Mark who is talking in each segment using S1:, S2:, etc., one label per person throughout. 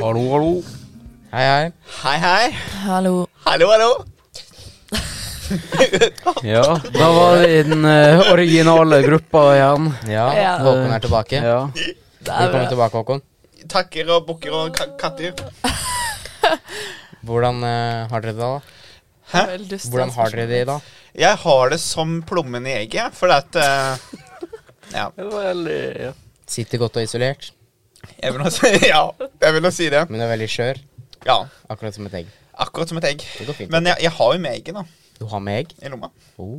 S1: Hallo, hallo.
S2: Hei, hei.
S3: Hei, hei.
S4: Hallo.
S3: Hallo, hallo.
S2: Ja.
S1: Da var det i den eh, originale gruppa igjen.
S2: ja.
S4: Ja.
S2: Håkon er tilbake.
S1: Ja.
S2: Velkommen tilbake, Håkon.
S3: Takker og bukker og ka katter.
S2: Hvordan eh, har dere det da?
S4: Vel dust,
S2: Hvordan har dere det i dag?
S3: Jeg har det som plommen i egget, for at eh, Ja.
S2: Sitter godt og isolert,
S3: Jeg vil nå si, ja, jeg vil nå si det.
S2: men er veldig skjør.
S3: Ja,
S2: Akkurat som et egg.
S3: Akkurat som et egg.
S2: Det går fint.
S3: Men jeg, jeg har jo med egget da,
S2: Du har med egg?
S3: i lomma.
S2: Oh.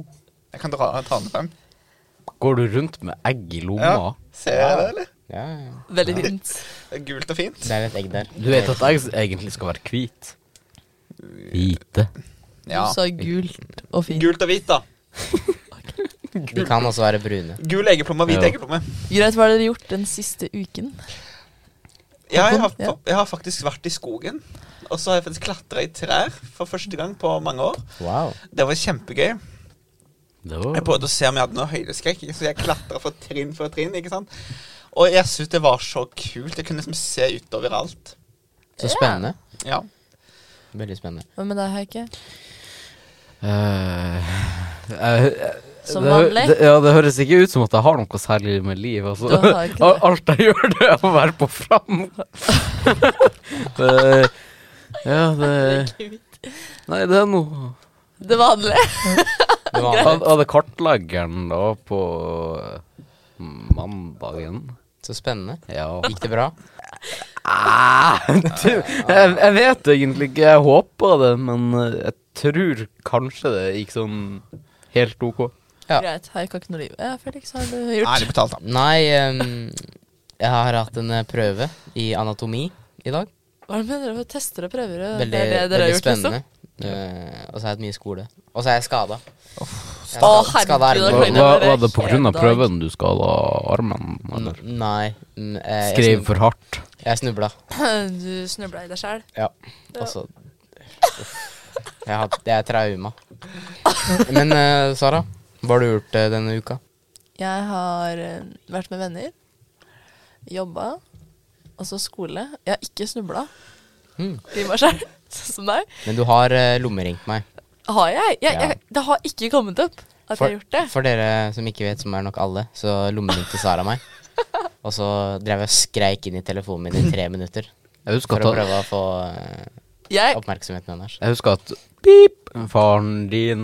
S3: Jeg kan dra, ta den frem.
S1: Går du rundt med egg i
S3: Ja.
S1: lomma?
S3: Ser jeg det, eller?
S2: Ja, ja.
S4: Veldig fint.
S3: Det er gult og fint.
S2: Det er et egg der.
S1: Du vet at egg egentlig skal være hvit. Hvite.
S3: Ja.
S4: Du sa gult og fint.
S3: Gult og hvit, da.
S2: De kan også være brune.
S3: Gul eggeplomme, hvit
S1: Ja.
S3: eggeplomme.
S4: Greit, hva har dere gjort den siste uken?
S3: Ja, jeg, har,
S4: Ja.
S3: fa- jeg har faktisk vært i skogen. Og så har jeg faktisk klatra i trær for første gang på mange år.
S2: Wow.
S3: Det var kjempegøy.
S1: Det
S3: Jeg
S1: var
S3: prøvde å se om jeg hadde noe høydeskrekk, ikke? så jeg klatra for trinn for trinn. ikke sant? Og jeg syntes det var så kult. Jeg kunne liksom se utover alt.
S2: Så spennende.
S3: Ja.
S2: Veldig spennende.
S4: Hva med deg, Heike? Som
S1: Som
S4: vanlig?
S1: Eh, Det, ja, det høres ikke ut som at jeg har noe særlig med liv. Altså.
S4: Du har ikke det.
S1: Al- Alt jeg gjør, det er å være på fram. det, ja, det Nei, det er noe
S4: Det vanlige.
S2: Det var
S1: Jeg hadde kartleggeren da på eh, mandagen.
S2: så spennende.
S1: Ja.
S2: Gikk det bra?
S1: Ah, Du, jeg, jeg vet egentlig ikke. Jeg håpa det, men eh, jeg tror kanskje det gikk sånn helt OK.
S2: Ja.
S4: Greit, Heike har ikke noe liv. Ja, Felix, har du gjort
S3: Ærlig betalt, da.
S2: Nei, ehm, jeg har hatt en eh, prøve i anatomi i dag.
S4: Hva er det med dere for tester og prøver? og
S2: Veldig,
S4: det er det dere
S2: veldig
S4: har gjort, liksom?
S2: spennende. Eh, og så har jeg hatt mye skole. Og så er jeg skada.
S4: Å,
S1: Hva,
S4: herregud, da kan jeg
S1: hva,
S4: nevne
S1: var det på
S4: hele
S1: grunn av
S4: dag.
S1: prøven du skada armen? Eller?
S2: Nei. mm, eh, jeg
S1: Skrev
S2: snub-
S1: for hardt?
S2: Jeg snubla.
S4: Du snubla i deg sjæl.
S2: Ja. Og så Uff. Jeg, har, jeg er trauma. Men eh, Sara, hva har du gjort eh, denne uka?
S4: Jeg har eh, vært med venner, jobba, og så skole. Jeg har ikke snubla
S2: Hmm.
S4: i meg sjæl, sånn som deg.
S2: Men du har eh, lommeringt meg.
S4: Har jeg? Jeg,
S2: Ja.
S4: jeg? Det har ikke kommet opp at jeg har gjort det.
S2: for dere som ikke vet, som er nok alle, så lommeringte Sara meg. Og så drev jeg og skreik inn i telefonen min i tre minutter
S1: Jeg husker
S2: for å
S1: at,
S2: prøve å få eh,
S4: Jeg,
S2: oppmerksomheten hennes.
S1: jeg husker at Pip! Faren din,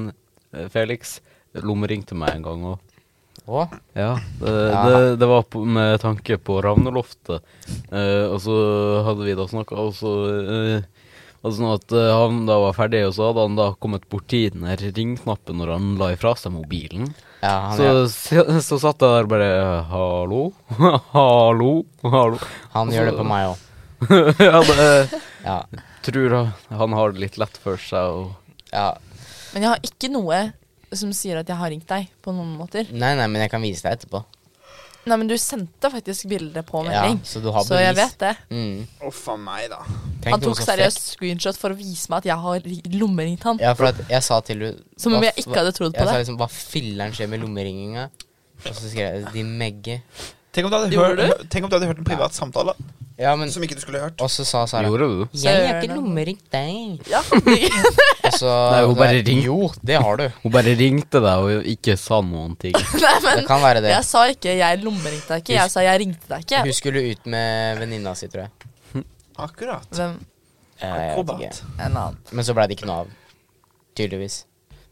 S1: eh, Felix, lommeringte meg en gang òg.
S2: Å,
S1: Ja, det, det, det var på, med tanke på Ravneloftet. Eh, og så hadde vi da snakka, og så eh, var det sånn at eh, han da var ferdig, og så hadde han da kommet borti den her ringknappen når han la ifra seg mobilen.
S2: ja, han,
S1: Så, så, så satt jeg der bare Hallo? Hallo? Hallo?
S2: han gjør det på meg òg.
S1: ja, det
S2: Ja.
S1: tror jeg han har det litt lett for seg. Og,
S2: ja.
S4: men jeg har ikke noe som sier at jeg har ringt deg, på noen måter.
S2: Nei, nei, men jeg kan vise deg etterpå.
S4: Nei, men du sendte faktisk bilde på
S2: Ja,
S4: melding,
S2: så du har
S4: så jeg
S2: bevis.
S4: vet det.
S2: Mm.
S3: Uff a meg, da.
S2: Tenk
S4: Han
S2: noe
S4: tok
S2: så
S4: seriøst screenshot for å vise meg at jeg har ri- lommeringt han.
S2: Ja, for at jeg sa til henne
S4: Som om
S2: hva
S4: jeg
S2: f-
S4: ikke hadde trodd på
S2: Jeg
S4: det.
S2: sa liksom hva filler'n skjer med lommeringinga? Og så skrev jeg de megge.
S3: Tenk om du hadde,
S4: Gjorde
S3: hørt, tenk om du hadde hørt en privat samtale
S2: Ja, men
S3: som ikke du skulle hørt.
S2: Og så sa Sara
S1: gjorde du?
S2: Jeg har ikke lommeringt deg.
S4: Ja, det-
S2: Og så
S1: Nei, hun bare
S2: Nei,
S1: ringte.
S2: Jo, det har du.
S1: Hun bare ringte deg og ikke sa noen ting.
S4: Nei,
S2: Det
S4: men
S2: kan være det.
S4: jeg sa ikke 'jeg lommeringte deg ikke', jeg sa 'jeg ringte deg ikke'.
S2: Hun skulle ut med venninna si, tror jeg.
S3: Akkurat.
S4: Hvem?
S2: Eh, jeg vet
S3: Akkurat.
S2: ikke.
S4: En annen.
S2: Men så blei det ikke noe av. Tydeligvis.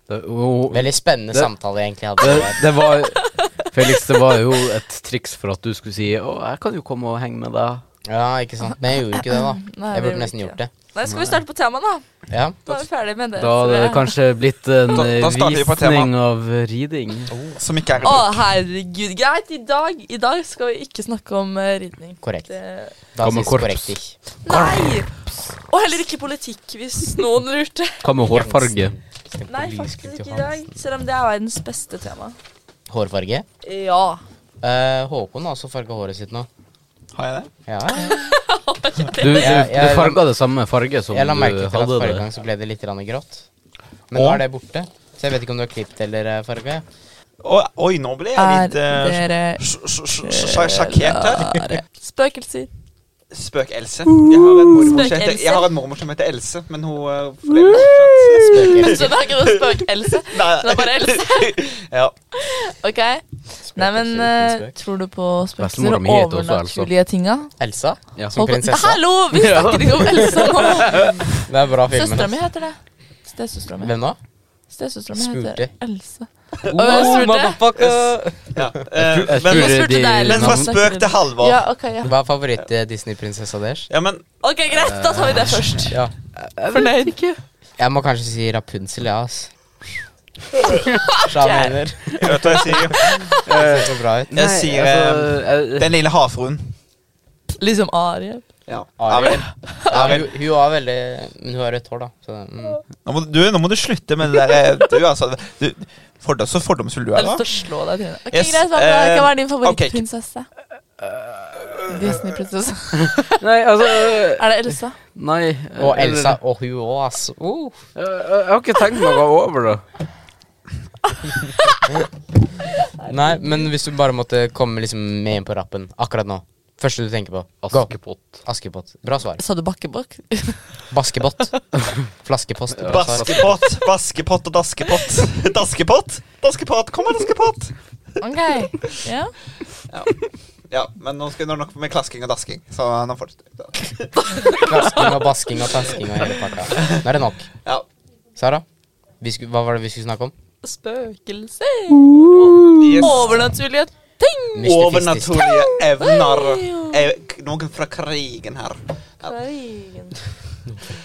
S1: Det, hun,
S2: Veldig spennende
S1: Det-
S2: samtale jeg egentlig hadde.
S1: Det, det var Felix, det var jo et triks for at du skulle si Å, jeg kan jo komme og henge med deg.
S2: Ja, ikke sant. Men jeg gjorde ikke det, da.
S4: Nei,
S2: jeg
S4: det
S2: burde nesten
S4: gjorde
S2: gjort det.
S4: Nei, skal vi starte på temaet, da?
S2: Ja.
S4: Da er vi ferdig med det.
S1: Da hadde det kanskje blitt en
S3: Da-
S1: eh,
S3: da starter vi på
S1: visning av riding.
S3: Som ikke er
S4: Å, herregud. Greit, i dag, i dag skal vi ikke snakke om eh, ridning.
S2: Korrekt.
S4: Det-
S2: Da
S1: Hva med
S2: sies
S1: korps?
S2: korrekt ikke.
S4: Nei! Og heller ikke politikk, hvis noen lurte.
S1: Hva med hårfarge?
S4: Nei, faktisk ikke i dag. Selv om det er verdens beste tema.
S2: Hårfarge?
S4: Ja.
S2: Eh, Håkon har også farga håret sitt nå.
S3: Har jeg det?
S2: Ja.
S1: Du, du,
S2: Jeg-
S1: du
S2: jeg-
S1: farga det samme farge som
S2: Jeg la
S1: du
S2: merke til at
S1: hadde
S2: forrige
S1: det.
S2: gang så ble det litt grann grått. Men nå
S3: Og?
S2: er det borte. Så jeg vet ikke om du har klippet eller eh, farga.
S3: Å, oi, nå ble jeg
S4: Er
S3: litt eh,
S4: dere
S3: sj- sj- sj- sj- sjakkert her.
S4: klare? Spøkelser.
S3: Spøk-Else. Jeg har en mormor som heter,
S5: Spøk-Else.
S3: jeg har en mormor som heter Else, men hun eh, lever fortsatt.
S4: Så det er ikke noe spøk, Else. Det er bare
S3: Else. ja.
S4: Ok. Nei, men eh, tror du på spøkelser
S1: Bestemora
S4: og
S1: mi heter også Elsa.
S4: overnaturlige tinga?
S2: Elsa?
S1: Ja.
S2: Som prinsessa?
S4: Hallo! Vi snakker ikke om Elsa nå!
S2: Det er bra film.
S4: Søstera
S2: men-
S4: mi heter det. Stesøstera mi.
S2: Hvem da?
S4: Stesøstera mi
S2: Smurte.
S4: heter Else.
S2: Oh,
S4: jeg spurte.
S2: motherfucker!
S3: ja. Eh,
S1: Jeg
S3: men,
S1: tror
S4: spurte
S1: de-
S4: deg, eller
S3: men fra spøk til halvor.
S4: Ja, ok, ja.
S2: Hva er favoritt-Disney-prinsessa deres?
S3: Ja, men
S4: Ok, Greit, da tar vi det først.
S2: Ja.
S4: Fornøyd?
S2: Jeg må kanskje si Rapunzel, ja, ass. Sjamener.
S3: jeg vet hva jeg sier.
S2: Det ser så bra ut.
S3: Jeg sier eh,
S1: altså, jeg,
S3: Den lille havfruen.
S4: Liksom Ariel.
S3: Ja.
S2: Ariel.
S3: Ariel.
S2: Ja, hun, hun var veldig Men hun har rødt hår, da. Så, mm.
S3: Nå må, du, nå må du slutte med det der eh, Du, altså. Du, fordom, så fordomsfull du
S4: Jeg
S3: er,
S4: har
S3: da.
S4: lyst til å slå deg i trynet. Ok,
S3: Yes,
S4: Greit, hva med-
S3: eh,
S4: hva er din
S3: ok.
S4: favorittprinsesse? Disney-prinsesse.
S1: nei, altså
S4: Er det Elsa?
S1: Nei.
S2: Og
S1: eller-
S2: Elsa og hun òg, ass. Uh.
S1: Jeg, jeg har ikke tenkt noe over det.
S2: Nei, men hvis du bare måtte komme liksom med inn på rappen akkurat nå Første du tenker på. Go.
S1: Askepott.
S2: Askepott. Bra svar.
S4: Sa du Bakkebakk?
S2: Baskepott. Flaskepost. Bra svar.
S3: Baskepott, baskepott og daskepott. Daskepott, daskepott, kom og daskepott!
S4: Ok, ja.
S3: Ja, men nå skal det nok med klasking og dasking. Så nå fortsetter
S2: Klasking og basking og tasking og hele pakka. Nå er det nok.
S3: Ja.
S2: Sara, vi sku, hva var det vi skulle snakke om?
S4: Spøkelser.
S3: Yes.
S4: Overnaturlige ting.
S2: Mystifistisk.
S3: Overnaturlige evner. Eh, Ev- Noen fra krigen her. Ja.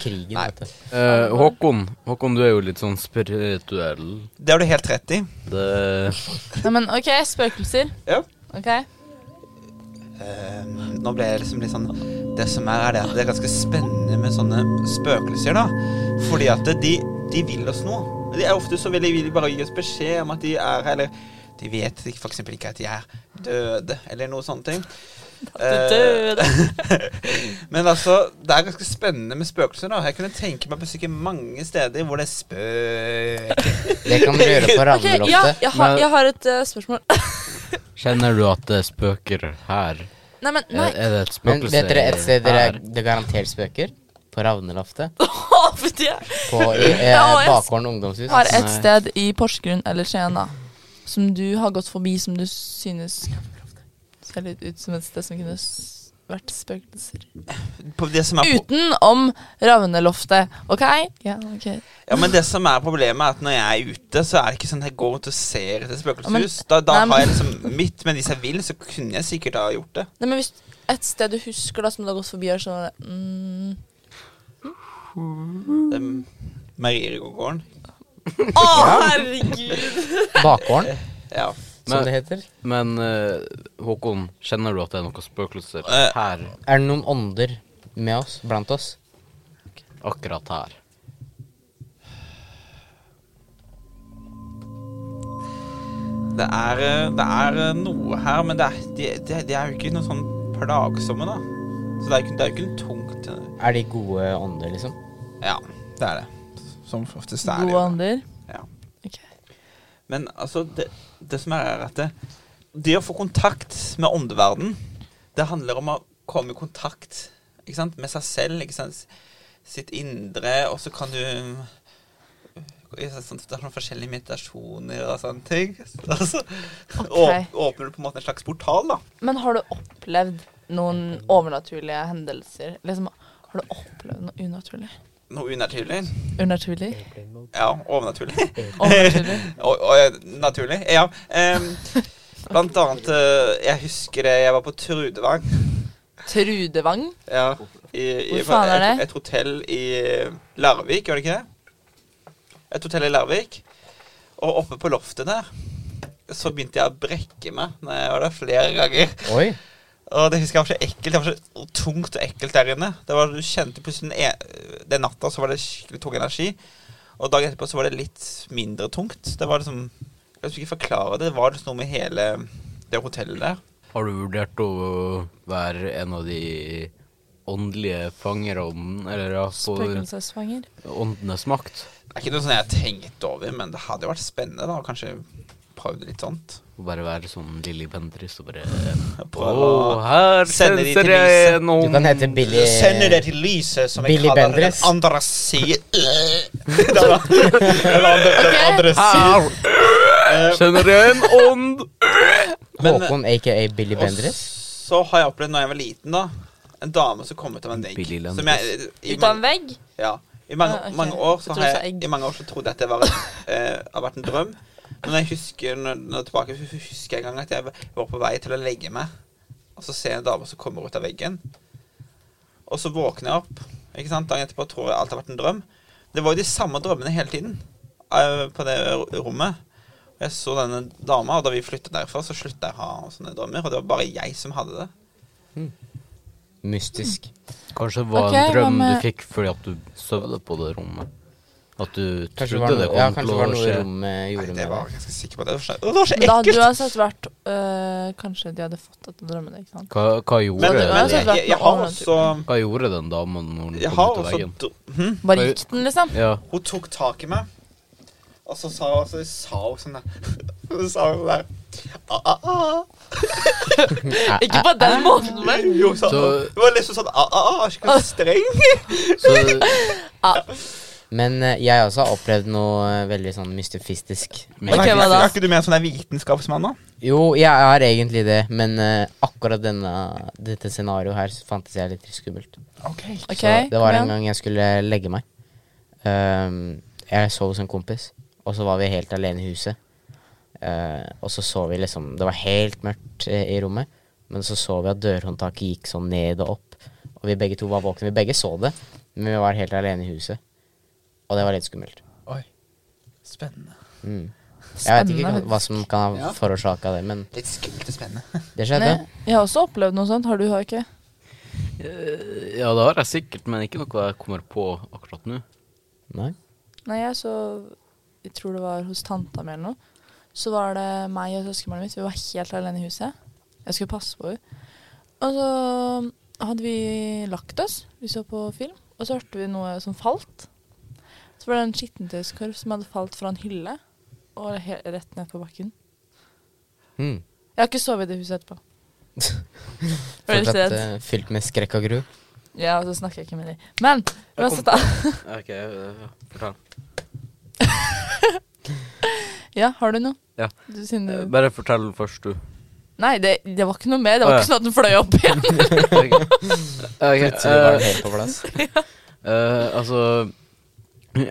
S2: Krigen,
S3: Nei.
S2: vet du.
S1: Eh, Håkon, Håkon, du er jo litt sånn spirituell.
S3: Det har du helt rett i.
S1: Det
S4: Nei, men ok, spøkelser.
S3: Ja.
S4: Ok.
S3: Eh, nå ble jeg liksom litt sånn Det som er, er det at det er ganske spennende med sånne spøkelser, da. Fordi at de, de vil oss noe. De er ofte så veldig vil de bare gi oss beskjed om at de er her, eller De vet f.eks. ikke at de er døde, eller noe sånne ting. Eh,
S4: At du døde.
S3: Men altså, det er ganske spennende med spøkelser, da. Jeg kunne tenke meg å besøke mange steder hvor det er spøk...
S2: Det kan dere gjøre på
S4: Ok, ja,
S2: Ravneloftet.
S4: jeg har,
S1: Men-
S4: jeg har et eh, spørsmål.
S1: Kjenner du at det spøker her?
S4: Nei, men nei.
S1: Er, er det et
S2: Men
S1: spøkelse
S2: vet dere et sted dere
S1: her?
S2: det garantert spøker? På Ravneloftet.
S4: Fordi jeg
S2: På eh,
S4: Ja, og jeg-
S2: Bakgården ungdomshus.
S4: har et
S1: Nei.
S4: sted i Porsgrunn eller Skien da, som du har gått forbi som du synes ser litt ut som et sted som kunne s- vært spøkelser.
S3: På det som er på,
S4: Utenom Ravneloftet, OK? Ja, ok.
S3: ja, men det som er problemet, er at når jeg er ute, så er det ikke sånn at jeg går rundt og ser etter
S4: Men-
S3: spøkelseshus. Da, da
S4: nei, men-
S3: har jeg liksom mitt, men hvis jeg vil, så kunne jeg sikkert ha gjort det.
S4: Nei, men hvis et sted du husker da, som du har gått forbi, er sånn mm.
S3: det Mariergården.
S4: Å, herregud!
S2: Bakgården,
S3: Ja.
S2: som
S1: Men-
S2: det heter.
S1: Men eh, Håkon, kjenner du at det er noen spøkelser
S3: Eh.
S1: her?
S2: Er det noen ånder med oss? Blant oss?
S1: Akkurat her.
S3: Det er, eh, det er eh, noe her, men det er, de, de, de er jo ikke noe sånn plagsomme, da. Så det er jo ikke- det er jo ikke noe tungt. eh,
S2: Er de gode ånder, liksom?
S3: Ja, det er det. Som oftest er det
S4: Gode
S3: jo det.
S4: ånder.
S3: Ja.
S4: Ok.
S3: Men altså, det, det som er, er at det, det å få kontakt med åndeverden, det handler om å komme i kontakt ikke sant? med seg selv, ikke sant? sitt indre, og så kan du det er sånn, det er sånn forskjellige meditasjoner og sånne ting. Altså,
S4: Ok.
S3: åp- Åpner du på en måte en slags portal, da?
S4: Men har du opplevd noen overnaturlige hendelser? Liksom, har du opplevd noe unaturlig?
S3: Noe unaturlig?
S4: Unaturlig?
S3: Ja, overnaturlig.
S4: Overnaturlig?
S3: og, og, naturlig, ja. Em, blant annet eh, Jeg husker det, jeg var på Trudevang.
S4: Trudevang?
S3: Ja. I,
S4: Hvor faen er det?
S3: Et, et hotell i Larvik, gjør det ikke det? Et hotell i Larvik. Og oppe på loftet der så begynte jeg å brekke meg når jeg var der flere ganger.
S2: Oi.
S3: Og det husker jeg var så ekkelt. Det var så tungt og ekkelt der inne. Det var, du kjente plutselig den, e den natta så var det skikkelig tung energi. Og dagen etterpå så var det litt mindre tungt. Det var liksom Jeg skal ikke forklare det. Det var liksom noe med hele det hotellet der.
S1: Har du vurdert å være en av de åndelige fanger av ånden, eller altså
S4: Spøkelsesfanger?
S1: åndenes makt?
S3: Det er ikke noe sånn jeg har tenkt over, men det hadde jo vært spennende da, å kanskje prøvd litt sånt.
S1: Og bare være sånn Lilly Bendriss og bare Å,
S3: Prøve å
S1: her
S3: Sende de til
S1: senser jeg
S3: Lise.
S1: noen
S2: Du kan hete Billy
S3: Sende det til lyset, som
S2: Billy
S3: jeg kaller
S2: Bendriss.
S3: den andre siden. Den andre- den andre- den andre
S1: Her
S3: siden.
S1: kjenner jeg en ånd.
S3: Men-
S2: Håkon, aka Billy
S3: Eh, Og
S2: Bendriss.
S3: så har jeg opplevd, når jeg var liten, da en dame som kom ut av en vegg.
S1: Billy Landris.
S3: Som jeg, i,
S4: Ut av
S3: mange,
S4: en vegg?
S3: ja, I mange,
S4: Ah, ok.
S3: mange år så har
S4: Jeg trodde du sa
S3: jeg,
S4: egg.
S3: i mange år så trodde jeg at det var, eh, har vært en drøm. Men når jeg husker når, når tilbake, så husker jeg en gang at jeg var på vei til å legge meg, og så ser jeg en dame som kommer ut av veggen. Og så våkner jeg opp ikke sant? dagen etterpå og tror jeg alt har vært en drøm. Det var jo de samme drømmene hele tiden eh, på det ro- rommet. Og Jeg så denne dama, og da vi flyttet derfra, så slutta jeg å ha sånne drømmer. Og det var bare jeg som hadde det.
S2: Mystisk.
S1: Kanskje det var
S4: Ok, hva
S1: en drøm
S4: med-
S1: du fikk fordi at du sovde på det rommet. At du
S2: Kanskje det
S1: trodde
S2: var
S1: det
S2: noe,
S1: kom
S2: ja, kanskje
S1: til
S2: det var
S1: å
S2: noe
S1: skje.
S2: rommet
S3: Nei,
S2: gjorde
S3: det
S2: med
S3: var
S2: det.
S3: jeg ganske sikker på. Det var så, det var så
S4: Men da hadde
S3: ekkelt!
S4: du uansett vært øh, Kanskje de hadde fått dette drømmen, ikke sant?
S1: Hva, hva, gjorde,
S3: Men, men jeg,
S4: uansett vært
S3: jeg, jeg har
S4: noe
S3: også
S1: hva gjorde den dama når hun
S3: Jeg
S1: kom
S3: har
S1: ut av
S3: også
S1: veggen?
S3: dr- hm?
S4: Bare gikk den, liksom?
S1: Ja.
S3: Hun tok tak i meg, og så sa hun, så sa hun sånn der Så sa hun der ah, ah, ah.
S4: Ikke på den måten, men
S3: Jo, sa hun.
S1: Så-
S3: Det var liksom sånn ah, ah, ah, skikkelig streng.
S1: Så
S2: Men eh, jeg også har opplevd noe eh, veldig sånn mystifistisk.
S4: Ok, hva da?
S3: Er ikke du mer sånn der vitenskapsmann, da?
S2: Jo, jeg er egentlig det, men eh, akkurat denne, dette scenarioet her fantes jeg litt skummelt.
S3: Ok.
S4: OK.
S2: så det var
S4: kom
S2: en
S4: igjen.
S2: gang jeg skulle legge meg. Ehm, jeg sov hos en kompis, og så var vi helt alene i huset. Eh, og så så vi liksom Det var helt mørkt eh, i rommet, men så så vi at dørhåndtaket gikk sånn ned og opp. Og vi begge to var våkne. Vi begge så det, men vi var helt alene i huset. Og det var litt skummelt.
S3: Oi. Spennende.
S2: Mm. Jeg vet ikke
S4: Spennende.
S2: hva som kan ha
S3: Ja.
S2: forårsaka det, men
S3: Litt skummelt og spennende.
S2: det skjedde.
S4: Nei, Jeg har også opplevd noe sånt. Har du, har ikke?
S1: ja, det har jeg sikkert, men ikke noe jeg kommer på akkurat nå.
S2: Nei.
S4: Nei, jeg så Jeg tror det var hos tanta mi eller noe. Så var det meg og søskenbarnet mitt. Vi var helt alene i huset. Jeg skulle passe på henne. Og så hadde vi lagt oss. Vi så på film. Og så hørte vi noe som falt. Så var det en skittentøyskorv som hadde falt fra en hylle og he rett ned på bakken.
S2: Mm.
S4: Jeg har ikke sovet i det huset etterpå. Var du litt
S2: Fortsatt
S4: redd?
S2: eh, fylt med skrekk og gru.
S1: Eh,
S4: Ja, og så snakker jeg ikke med dem. Men uansett, da.
S1: Ok, ja, fortell.
S4: Ja, har du noe?
S1: Ja.
S4: Du, siden
S1: Eh,
S4: du
S1: Bare fortell først, du.
S4: Nei, det, det var ikke noe mer. Det
S1: Å,
S4: var
S1: ja.
S4: ikke sånn at den fløy opp igjen.
S1: Ok. Ok,
S2: Plutselig var
S1: eh,
S2: det helt på plass.
S1: Eh, altså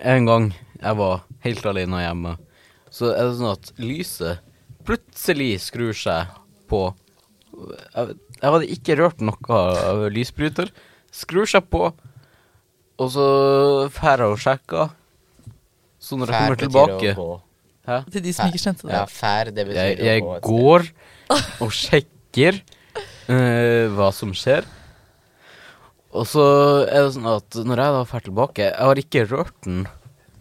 S1: En gang jeg var helt alene hjemme, så er det sånn at lyset plutselig skrur seg på. Jeg, jeg hadde ikke rørt noe av lysbryter. Skrur seg på, og så drar jeg og sjekker. Så når jeg
S2: Fær
S1: kommer
S2: betyr å
S1: tilbake
S2: gå.
S1: Hæ?
S4: Til de som ikke skjønte det.
S2: Ja, fær, det betyr
S1: Jeg, jeg
S2: å gå et sted.
S1: går og sjekker eh, hva som skjer. Og så er det sånn at når jeg da drar tilbake Jeg har ikke rørt den,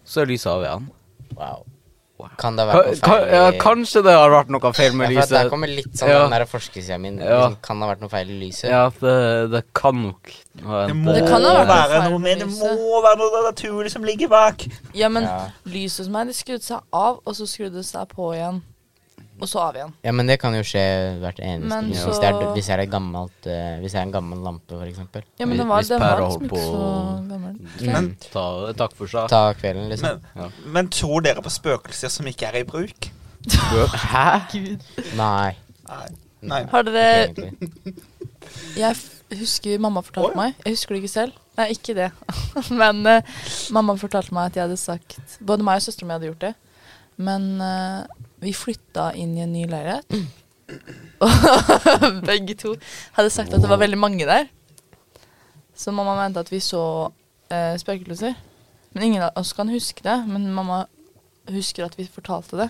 S1: så er lyset av igjen.
S2: Wow. Kan det
S1: Ka,
S2: være noe
S1: ka,
S2: feil i-
S1: ja, kanskje det har vært noe feil
S2: Ja,
S1: med
S2: for at Der
S1: lyset.
S2: kommer litt sånn
S1: Ja.
S2: den der forskersida min.
S1: Ja.
S2: Liksom, kan det ha vært noe feil i lyset?
S1: Ja, det, det kan nok ha
S3: Det
S1: hendt.
S3: må
S4: Det
S1: det.
S4: kan ha vært noe
S3: være
S4: feil
S3: noe
S4: med
S3: med det
S4: lyset.
S3: må være noe naturlig som ligger bak.
S4: Ja, men
S2: Ja.
S4: lyset hos meg, det skrudde seg av, og så skrudde det seg på igjen. Og så av igjen.
S2: Ja, men det kan jo skje hvert eneste
S4: Men
S2: lys.
S4: så-
S2: Hvis det er, hvis det er, et gammelt, eh, hvis det er en gammel lampe, for eksempel.
S4: Ja, men
S1: Hvis-
S4: den var,
S1: hvis
S4: den var
S1: pæra
S4: liksom
S1: holdt
S4: ikke
S1: på-
S4: så gammel.
S2: Mm.
S1: Ta, takk for seg.
S2: Ta kvelden,
S1: Mm.
S2: liksom.
S3: Men, men tror dere på spøkelser som ikke er i bruk?
S1: Hæ?
S2: Nei.
S3: Nei. Nei.
S4: Har dere
S2: ikke egentlig.
S4: Jeg f- husker mamma
S3: Å,
S4: fortalte
S3: ja.
S4: meg Jeg husker det ikke selv. Nei, ikke det. men eh, mamma fortalte meg at jeg hadde sagt Både meg og søstera mi hadde gjort det. Men eh, vi flytta inn i en ny leilighet. Og begge to hadde sagt at det var veldig mange der. Så mamma mente at vi så eh, spøkelser. Men ingen av oss kan huske det. Men mamma husker at vi fortalte det.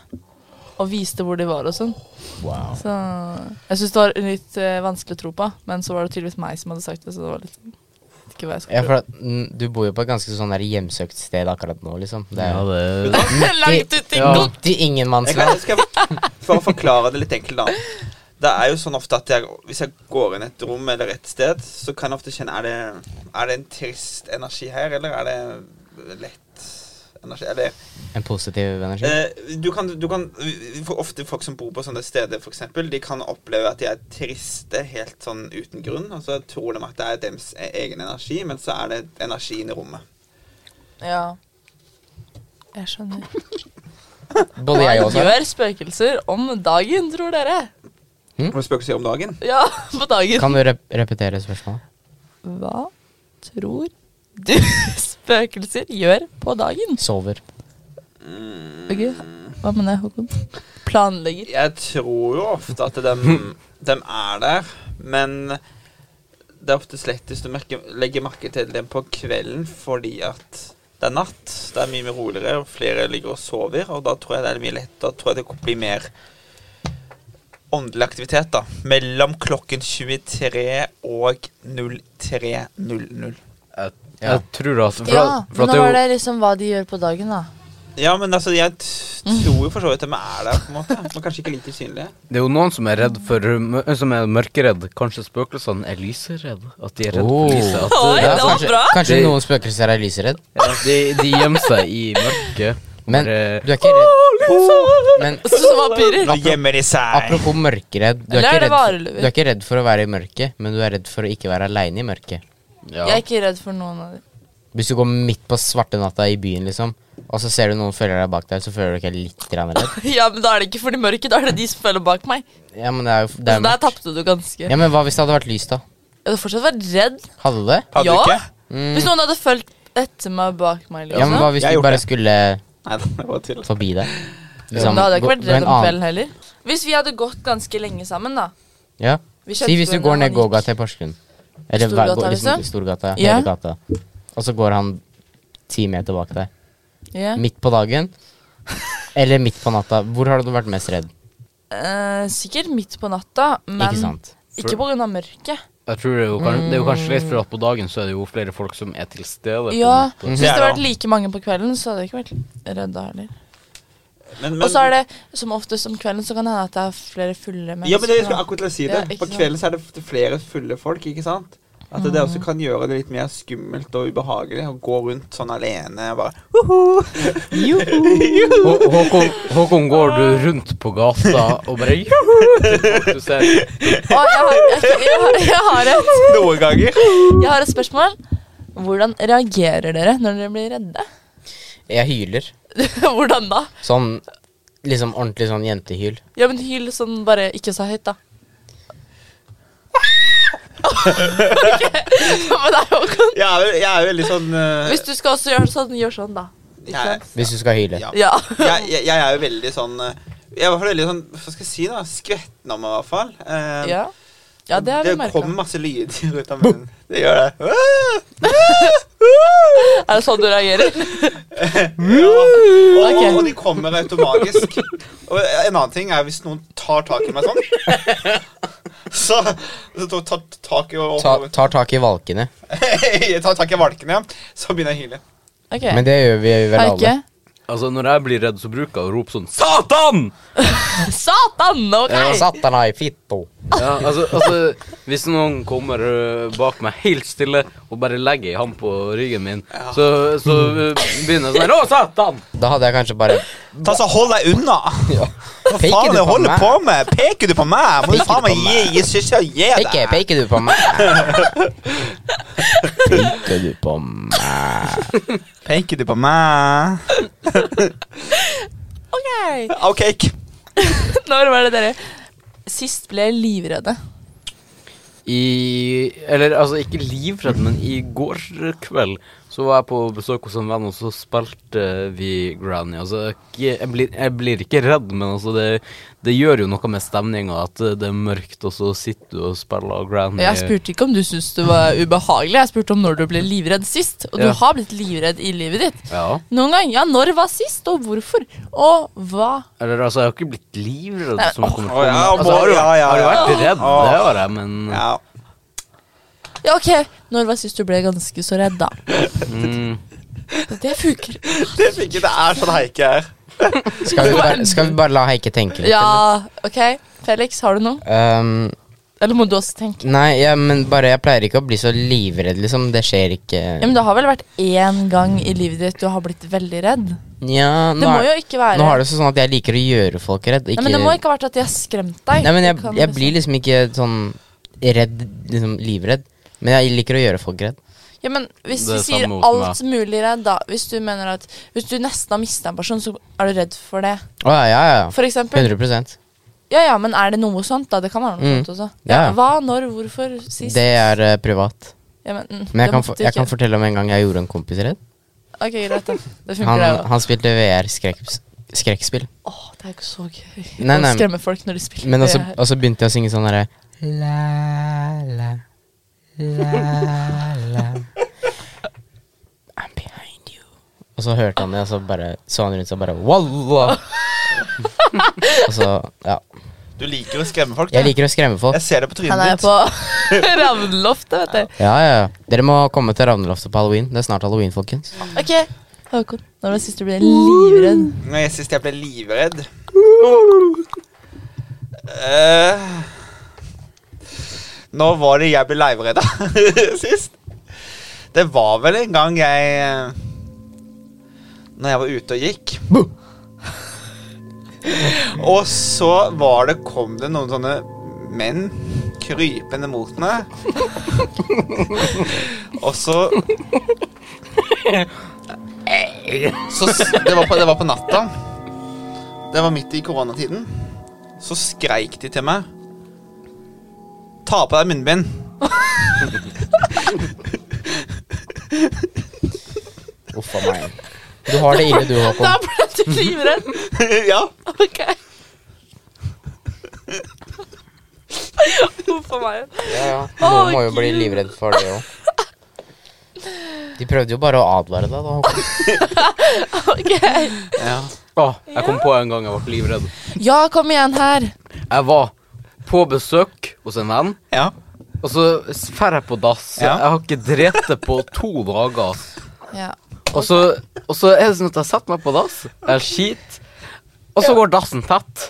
S4: Og viste hvor de var og sånn.
S2: Wow.
S4: Så jeg syns det var litt eh, vanskelig å tro på, men så var det tydeligvis meg som hadde sagt det, så det var litt vet ikke hva jeg
S2: Ja,
S4: skulle
S2: for at, mm, du bor jo på et ganske sånn der hjemsøkt sted akkurat nå, liksom. Det
S1: Ja,
S2: er
S1: det
S4: tro. Langt ut i
S1: Ja.
S4: god-
S2: midt i
S3: Jeg kan,
S2: ingenmannsland.
S3: skal jeg for å forklare det litt enkelt, da. Det er jo sånn ofte at jeg, hvis jeg går inn et rom eller et sted, så kan jeg ofte kjenne Er det, er det en trist energi her, eller er det lett energi. Eller
S2: En positiv energi.
S3: Eh, du kan, du kan for Ofte folk som bor på sånne steder, for eksempel, de kan oppleve at de er triste helt sånn uten grunn. Og så tror de at det er deres e- egen energi, men så er det energien i rommet.
S4: Ja. Jeg skjønner.
S2: Både jeg og Sara.
S4: gjør spøkelser om dagen, tror dere?
S3: Og spøkelser om dagen.
S4: Ja, på dagen.
S2: Kan du rep repetere spørsmålet?
S4: Hva tror du spøkelser gjør på dagen?
S2: Sover.
S4: Ok, Hva med det, Håkon? Planlegger.
S3: Jeg tror jo ofte at dem, dem er der, men det er ofte lettest å merke, legge merke til dem på kvelden fordi at det er natt, det er mye mer roligere, og flere ligger og sover, og da tror jeg det er mye lettere. Da tror jeg det blir mer åndelig aktivitet, da. Mellom klokken 23 og 03.00.
S1: Jeg,
S2: Ja.
S1: jeg tror at for,
S4: Ja,
S1: at- for
S4: men
S1: at
S4: nå
S1: det
S4: var
S1: er
S4: det
S1: jo,
S4: liksom hva de gjør på dagen, da.
S3: Ja, men altså, jeg t tror jo for så vidt at de er der, på en måte. Men kanskje ikke like synlige.
S1: det er jo noen som er redd for mø- Som er mørkeredd. Kanskje spøkelsene er lyseredd? At de er redd
S2: Oh.
S1: for lyset? At
S4: Oi,
S1: eh,
S4: det var
S2: kanskje,
S4: bra.
S2: kanskje
S1: Det-
S2: noen spøkelser er lyseredd.
S1: ja, de, de gjemmer seg i mørket.
S2: Men
S1: Bare-
S2: du er ikke redd Men
S4: Sånn som vampyrer.
S3: Nå gjemmer de seg.
S2: apropos mørkeredd du er,
S4: Eller er
S2: ikke redd
S4: det
S2: for,
S4: varulver?
S2: du er ikke redd for å være i mørket, men du er redd for å ikke være aleine i mørket.
S1: ja.
S4: Jeg er ikke redd for noen av dem.
S2: Hvis du går midt på svarte natta i byen, liksom, og så ser du noen følger deg bak deg, så føler du ikke litt grann redd?
S4: Ja, men da er det ikke for de mørke, da er det de som følger bak meg.
S2: Ja, men det er jo det
S4: Så
S2: er jo
S4: der
S2: mørkt.
S4: tapte du ganske.
S2: Ja, men hva hvis det hadde vært lys, da?
S4: Jeg hadde fortsatt vært redd.
S2: Hadde det?
S3: Hadde
S4: Ja.
S3: du ikke?
S2: Mm.
S4: Hvis noen hadde fulgt etter meg bak meg,
S2: Ja,
S4: liksom.
S2: men hva hvis
S3: Jeg
S2: du
S3: gjorde
S2: bare
S3: det.
S2: skulle
S3: Nei, det var tull.
S2: forbi deg?
S4: Men da hadde jeg ikke
S2: gå-
S4: vært
S2: gå en
S4: redd om
S2: annen-
S4: kvelden heller. Hvis vi hadde gått ganske lenge sammen, da.
S2: Ja.
S4: Vi
S2: Si hvis du går
S4: kjente hverandre,
S2: ned
S4: han gikk.
S2: gågata i Porsgrunn. Eller hva-
S4: Storgata,
S2: går liksom,
S4: liksom?
S2: Storgata.
S4: Ja.
S2: Hele gata. Og så går han ti meter bak deg.
S4: Ja.
S2: Midt på dagen. Eller midt på natta. Hvor har du vært mest redd?
S4: Eh, sikkert midt på natta, men
S2: Ikke sant?
S4: ikke på grunn av mørket.
S1: Jeg tror det er, jo kanskje, det er jo
S4: Mm.
S1: kanskje litt for at på dagen så er det jo flere folk som er til stede. på en
S4: Ja,
S1: måte.
S3: Det
S4: Hvis det
S3: er det
S4: hadde vært like mange på kvelden, så hadde jeg ikke vært redd da heller.
S3: Men- men-
S4: Og så er det som oftest om kvelden, så kan det hende at det er flere fulle mennesker.
S3: Ja, men det jeg skulle
S4: da.
S3: akkurat til å si det.
S4: Ja,
S3: på
S4: ikke sant.
S3: kvelden så er det f- flere fulle folk, ikke sant? At det også kan gjøre det litt mer skummelt og ubehagelig å gå rundt sånn alene og bare
S1: Hå- Håkon, Håkon, går du rundt på gata og bare juhu, til folk du ser?
S4: Å, jeg, har, jeg, jeg, har, jeg, har et,
S3: Noen ganger.
S4: jeg har et spørsmål. Hvordan reagerer dere når dere blir redde?
S2: Jeg hyler.
S4: Hvordan da?
S2: Sånn liksom ordentlig sånn jentehyl.
S4: Ja, men hyl sånn bare ikke så høyt, da. ok, men det er jo godt.
S3: Jeg er, jo- jeg er jo veldig sånn eh,
S4: Hvis du skal også gjøre sånn, gjør sånn, da. Ikke
S3: jeg,
S4: sant?
S2: Hvis du skal hyle.
S3: Ja.
S4: Ja.
S3: jeg, jeg, jeg er jo veldig sånn eh, Jeg er i hvert fall veldig sånn Hva skal jeg si, da? Skvetten av meg, i hvert fall. Eh,
S4: Ja, ja det har vi
S3: det
S4: merka.
S3: kommer masse lyder ut av munnen. Det gjør det. Ah!
S4: Er det sånn du reagerer?
S3: Ja. Og,
S4: Ok.
S3: og de kommer automatisk. Og en annen ting er hvis noen tar tak i meg sånn. Så, så tar tar tak i og,
S2: Ta, tar tak i valkene.
S3: Jeg tar tak i valkene, så begynner jeg å hyle.
S4: Ok,
S2: Men det gjør vi vel
S4: Haike.
S2: alle.
S1: Altså, når jeg blir redd, så bruker jeg å rope sånn Satan!
S4: Satan! Ok!
S2: Ja, Satana i fitto.
S1: Ja, altså, altså, hvis noen kommer ø, bak meg helt stille og bare legger ei hånd på ryggen min, så, så ø, begynner jeg sånn her, Å, satan!
S2: Da hadde jeg kanskje bare
S3: Ta så Altså, Hold deg unna! Hva
S2: Peker
S3: faen
S2: du
S3: er det
S2: på
S3: holder
S2: meg?
S3: på med? Peker du på meg? Må du
S2: Peker
S3: faen
S2: du
S3: meg
S2: på
S3: gi, gi søster gi
S2: Peker,
S3: deg?
S2: peker du på meg? Peker du på meg?
S3: Peker du på meg?
S4: Ok.
S3: OK. k-
S4: Når var det dere sist ble livredde?
S1: I Eller altså, ikke livredd, men i går kveld så var jeg på besøk hos en venn, og så spilte vi Granny. Altså, ikke, jeg, blir, jeg blir ikke redd, men altså, det, det gjør jo noe med stemninga at eh, det er mørkt, og så sitter du og spiller Granny.
S4: Jeg spurte ikke om du syntes det var ubehagelig, jeg spurte om når du ble livredd sist. Og du
S1: Ja.
S4: har blitt livredd i livet ditt.
S1: Ja.
S4: Noen gang. Ja, når var sist, og hvorfor? Og hva?
S1: Eller altså, jeg har ikke blitt livredd
S4: Nei,
S1: som
S4: åh.
S1: kommer
S3: Å, ja,
S1: altså,
S3: må-
S1: har, du,
S3: ja, ja,
S1: har du
S3: ja.
S1: vært redd?
S3: Åh.
S1: Det har jeg, men
S3: Ja.
S4: Ja, ok. Når var sist du ble ganske så redd, da?
S1: mm,
S4: Det funker.
S3: Det, fikk jeg- det er sånn Heike er.
S2: Skal vi bare, skal vi bare la Heike tenke litt?
S4: Ja, ok. Felix, har du noe?
S2: eller? Um,
S4: Eller må du også tenke?
S2: Nei, ja, men bare jeg pleier ikke å bli så livredd, liksom. Det skjer ikke
S4: Ja, men det har vel vært én gang i livet ditt du har blitt veldig redd?
S2: Ja, nå,
S4: Det må
S2: er-
S4: jo ikke være
S2: nå har det seg sånn at jeg liker å gjøre folk redd. Ikke,
S4: Nei, men Det må ikke ha vært at de har skremt deg.
S2: Nei, men jeg,
S4: Det kan
S2: jeg
S4: liksom-
S2: blir liksom ikke sånn redd, liksom livredd. Men jeg liker å gjøre folk redd.
S4: Ja, men Hvis
S1: Det
S4: vi
S1: er
S4: sier
S1: samme mot
S4: alt mulig redd, da Hvis du mener at Hvis du nesten har mista en person, så er du redd for det.
S2: Å ja, ja, ja.
S4: For eksempel.
S2: 100
S4: Ja, ja, men er det noe sånt, da? Det kan være noe
S2: Mm.
S4: sånt også.
S2: Ja, ja.
S4: Hva, når, hvorfor, sist?
S2: Det er eh, privat.
S4: ja, men, mm,
S2: Men
S4: det
S2: jeg kan,
S4: måtte
S2: for,
S4: du
S2: jeg
S4: ikke.
S2: kan fortelle om en gang jeg gjorde en kompis redd.
S4: Ok, greit, da. Det funker,
S2: Han,
S4: det òg.
S2: han spilte VR-skrekkspill.
S4: Åh, det er jo ikke så gøy
S2: Nei, nei.
S4: å skremme folk når de spiller.
S2: Men altså-
S4: det
S2: også,
S4: her.
S2: og så begynte jeg å synge sånn derre La, la, la, la I'm behind you. Og så hørte han det, og så bare så han rundt seg og bare Wallah! og så Ja.
S3: Du liker å skremme folk.
S2: Jeg
S3: du.
S2: liker å skremme folk.
S3: jeg ser det på
S4: Han er
S3: trynet
S4: jo på ravnloftet, vet du.
S2: Ja, ja, ja. Dere må komme til Ravneloftet på halloween. Det er snart halloween, folkens.
S4: Ok, Håkon. Når var det sist du ble livredd?
S3: ditt. Når jeg sist jeg ble livredd Eh, Når var det jeg ble livredd sist? Det var vel en gang jeg eh, Når jeg var ute og gikk. og så var det, kom det noen sånne menn krypende mot meg. og så Så s- det var, på, det var på natta. Det var midt i koronatiden. Så skreik de til meg. Ta på deg munnbind.
S2: Uff a meg. Du har det ille, du, Håkon.
S4: Da ble du livredd.
S3: ja.
S4: Ok. Huff a meg.
S2: Ja, ja. Noen må jo bli
S4: Gud.
S2: livredd for det òg. De prøvde jo bare å advare deg, da. Håkon.
S4: Ok.
S3: ja.
S1: Åh, jeg kom på en gang jeg ble livredd.
S4: Ja, kom igjen her.
S1: Jeg var på besøk hos en venn,
S3: ja.
S1: og så drar jeg på dass.
S3: Ja.
S1: Jeg har ikke drept det på to dager. ass.
S4: Ja.
S1: Og så, og så er det sånn at jeg setter meg på dass, jeg skiter, og så går dassen tett.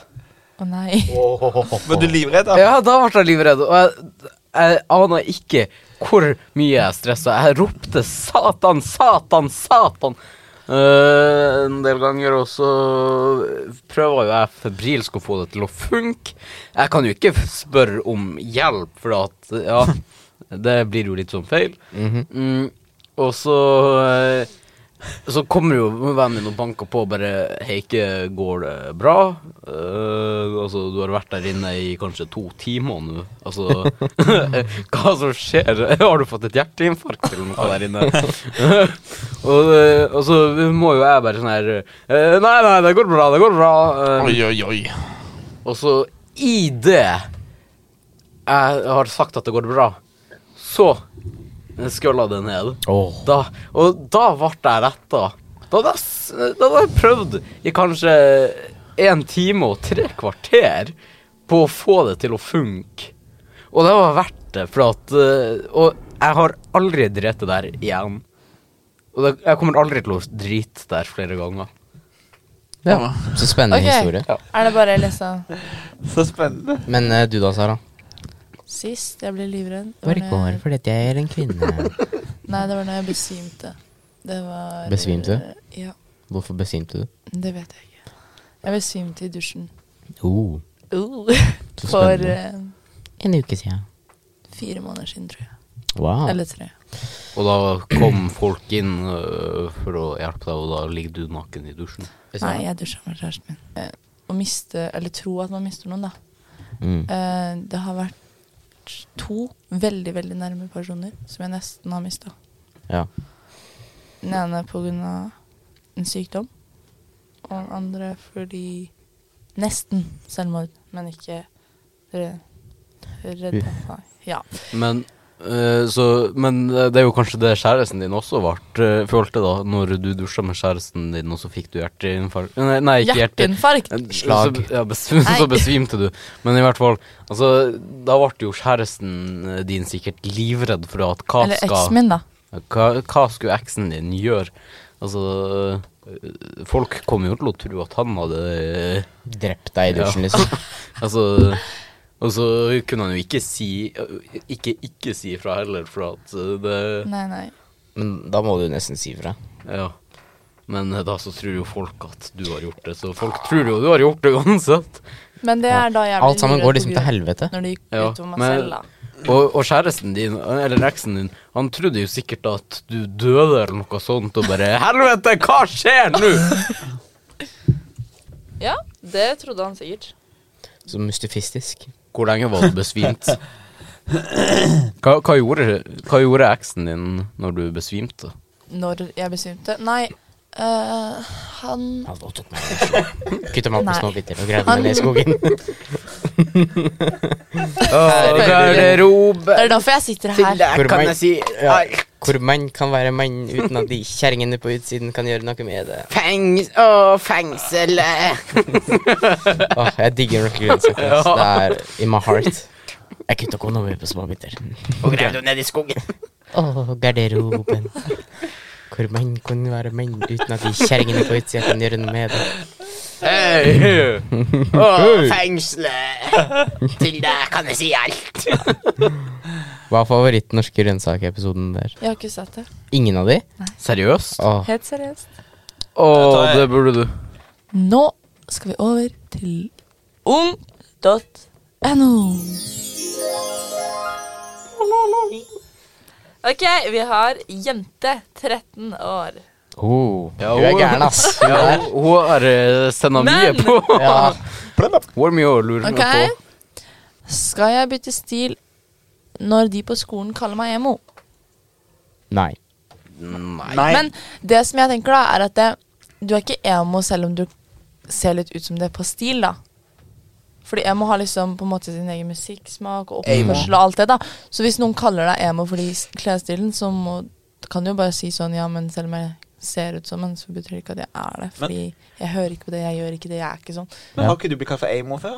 S4: Å nei.
S3: Var du livredd, da?
S1: Ja, da ble jeg livredd, og jeg, jeg aner ikke hvor mye jeg stressa. Jeg ropte 'Satan, Satan, Satan' eh, en del ganger, og så prøver jo jeg febrilsk å få det til å funke. Jeg kan jo ikke spørre om hjelp, for at Ja, det blir jo litt sånn feil. Mm, og så eh, Så kommer jo vennen min og banker på og bare Hei, ikke går det bra? Eh, altså, du har vært der inne i kanskje to timer nå. Altså Hva som skjer? Har du fått et hjerteinfarkt eller noe der inne? og, eh, og så må jo jeg bare sånn her eh, Nei, nei, det går bra, det går bra. eh,
S3: oi, oi.
S1: og så i det jeg har sagt at det går bra, så skølla det ned.
S2: Åh.
S1: Da, og da ble jeg retta. Da hadde jeg s- da hadde jeg prøvd i kanskje en time og tre kvarter på å få det til å funke. Og det var verdt det, for at eh, Og jeg har aldri drept det der igjen. Og det, jeg kommer aldri til å drite der flere ganger.
S2: Ja. Så spennende
S4: Ok.
S2: historie.
S4: Er det bare liksom
S3: Så spennende.
S2: Men eh, du da, Sara?
S4: Sist jeg ble livredd
S2: Bare
S4: når
S2: går
S4: jeg-
S2: fordi at jeg er en kvinne.
S4: Nei, det var når jeg besvimte. Det var
S2: Besvimte?
S4: Ja.
S2: Hvorfor besvimte du?
S4: Det vet jeg ikke. Jeg besvimte i dusjen.
S2: Oh.
S4: Uh,
S2: Så
S4: for
S2: spennende.
S4: eh,
S2: En uke siden.
S4: fire måneder siden, tror jeg.
S2: Wow.
S4: Eller tre.
S1: Og da kom folk inn øh, for å hjelpe deg, og da ligger du naken i dusjen.
S4: Nei, jeg dusja med kjæresten min. Eh, Å miste, eller tro at man mister noen, da.
S2: Mm.
S4: Eh, Det har vært to veldig, veldig nærme personer som jeg nesten har mista.
S2: Ja.
S4: Den ene på grunn av en sykdom, og den andre fordi nesten selvmord, men ikke re- redda. Nei. Ja.
S1: Men, øh, så, men det er jo kanskje det kjæresten din også ble, følte da, når du dusja med kjæresten din, og så fikk du hjerteinfarkt Nei, nei ikke hjerte...
S4: Hjerteinfarkt!
S2: Slag.
S1: Så, ja, besv så
S4: Nei.
S1: besvimte du. Men i hvert fall, altså, da ble jo kjæresten eh, din sikkert livredd for at hva
S4: Eller
S1: skal
S4: eksen min, da.
S1: hva, hva skulle eksen din gjøre? Altså, øh, folk kom jo til å tro at han hadde øh,
S2: Drept deg i dusjen,
S1: Ja.
S2: liksom.
S1: Altså Og så kunne han jo ikke si Ikke ikke si fra heller, for at eh, det
S4: Nei, nei.
S2: Men da må du nesten si fra.
S1: Ja. Men eh, da så tror jo folk at du har gjort det, så folk tror jo du har gjort det uansett.
S4: Men det
S2: Ja.
S4: er da jeg
S2: Alt sammen
S4: livredd
S2: går
S4: på
S2: liksom til
S4: grunn-
S2: helvete.
S4: Når det gikk
S1: Ja,
S4: utover meg
S1: men-
S4: selv, da.
S1: Og, og kjæresten din, eller eksen din, han trodde jo sikkert at du døde eller noe sånt, og bare Helvete, hva skjer nå?!
S4: Ja, det trodde han sikkert.
S2: Så mystifistisk.
S1: Hvor lenge var du besvimt? Hva, hva, gjorde, hva gjorde eksen din når du besvimte?
S4: Når jeg besvimte. Nei, øh, han
S2: Han voldtok meg. Kutta meg opp i
S4: Nei.
S2: små biter og greide meg ned i skogen.
S4: Det
S1: Garderobe
S4: er derfor jeg sitter her.
S2: Hvor kan jeg
S1: si
S2: Ja. Hvor mann kan være mann uten at de kjerringene på utsiden kan gjøre noe med det.
S1: Fengs... Å, fengselet!
S2: Åh, jeg digger Rocky Grønnsøk. Det er in my heart. Jeg kutta kondomer på små biter.
S1: Og grev du ned i skogen.
S2: Åh, garderoben. Hvor mann kan være mann uten at de kjerringene på utsida kan gjøre noe med det.
S1: Hei! Å, fengselet! Til deg kan jeg si alt.
S2: Hva er favoritt-norske grønnsak-episoden der?
S4: Jeg har ikke sett det.
S2: Ingen av de?
S1: Seriøst? Å,
S2: Åh,
S4: Helt seriøst.
S1: det burde du.
S4: Nå skal vi over til ung.no. Ok, vi har jente 13 år.
S2: oh,
S1: Ja,
S2: du er
S1: hun-
S2: gæren, ass.
S1: Ja, hun har senda mye
S4: Men-
S1: på.
S2: Ja.
S1: Hvor mye å lure meg
S4: Ok.
S1: på?
S4: Skal jeg bytte stil når de på skolen kaller meg emo?
S2: Nei.
S1: Nei.
S4: Men det som jeg tenker da, er at det, du er ikke emo selv om du ser litt ut som det på stil, da. Fordi emo har liksom på en måte sin egen musikksmak og oppførsel og alt det, da. Så hvis noen kaller deg emo fordi s- klesstilen, så må, kan du jo bare si sånn ja, men selv om jeg ser ut som en, så betyr det ikke at jeg er det. Fordi jeg hører ikke på det, jeg gjør ikke det, jeg er ikke sånn.
S3: Men har ikke du blitt kalt for Amo før?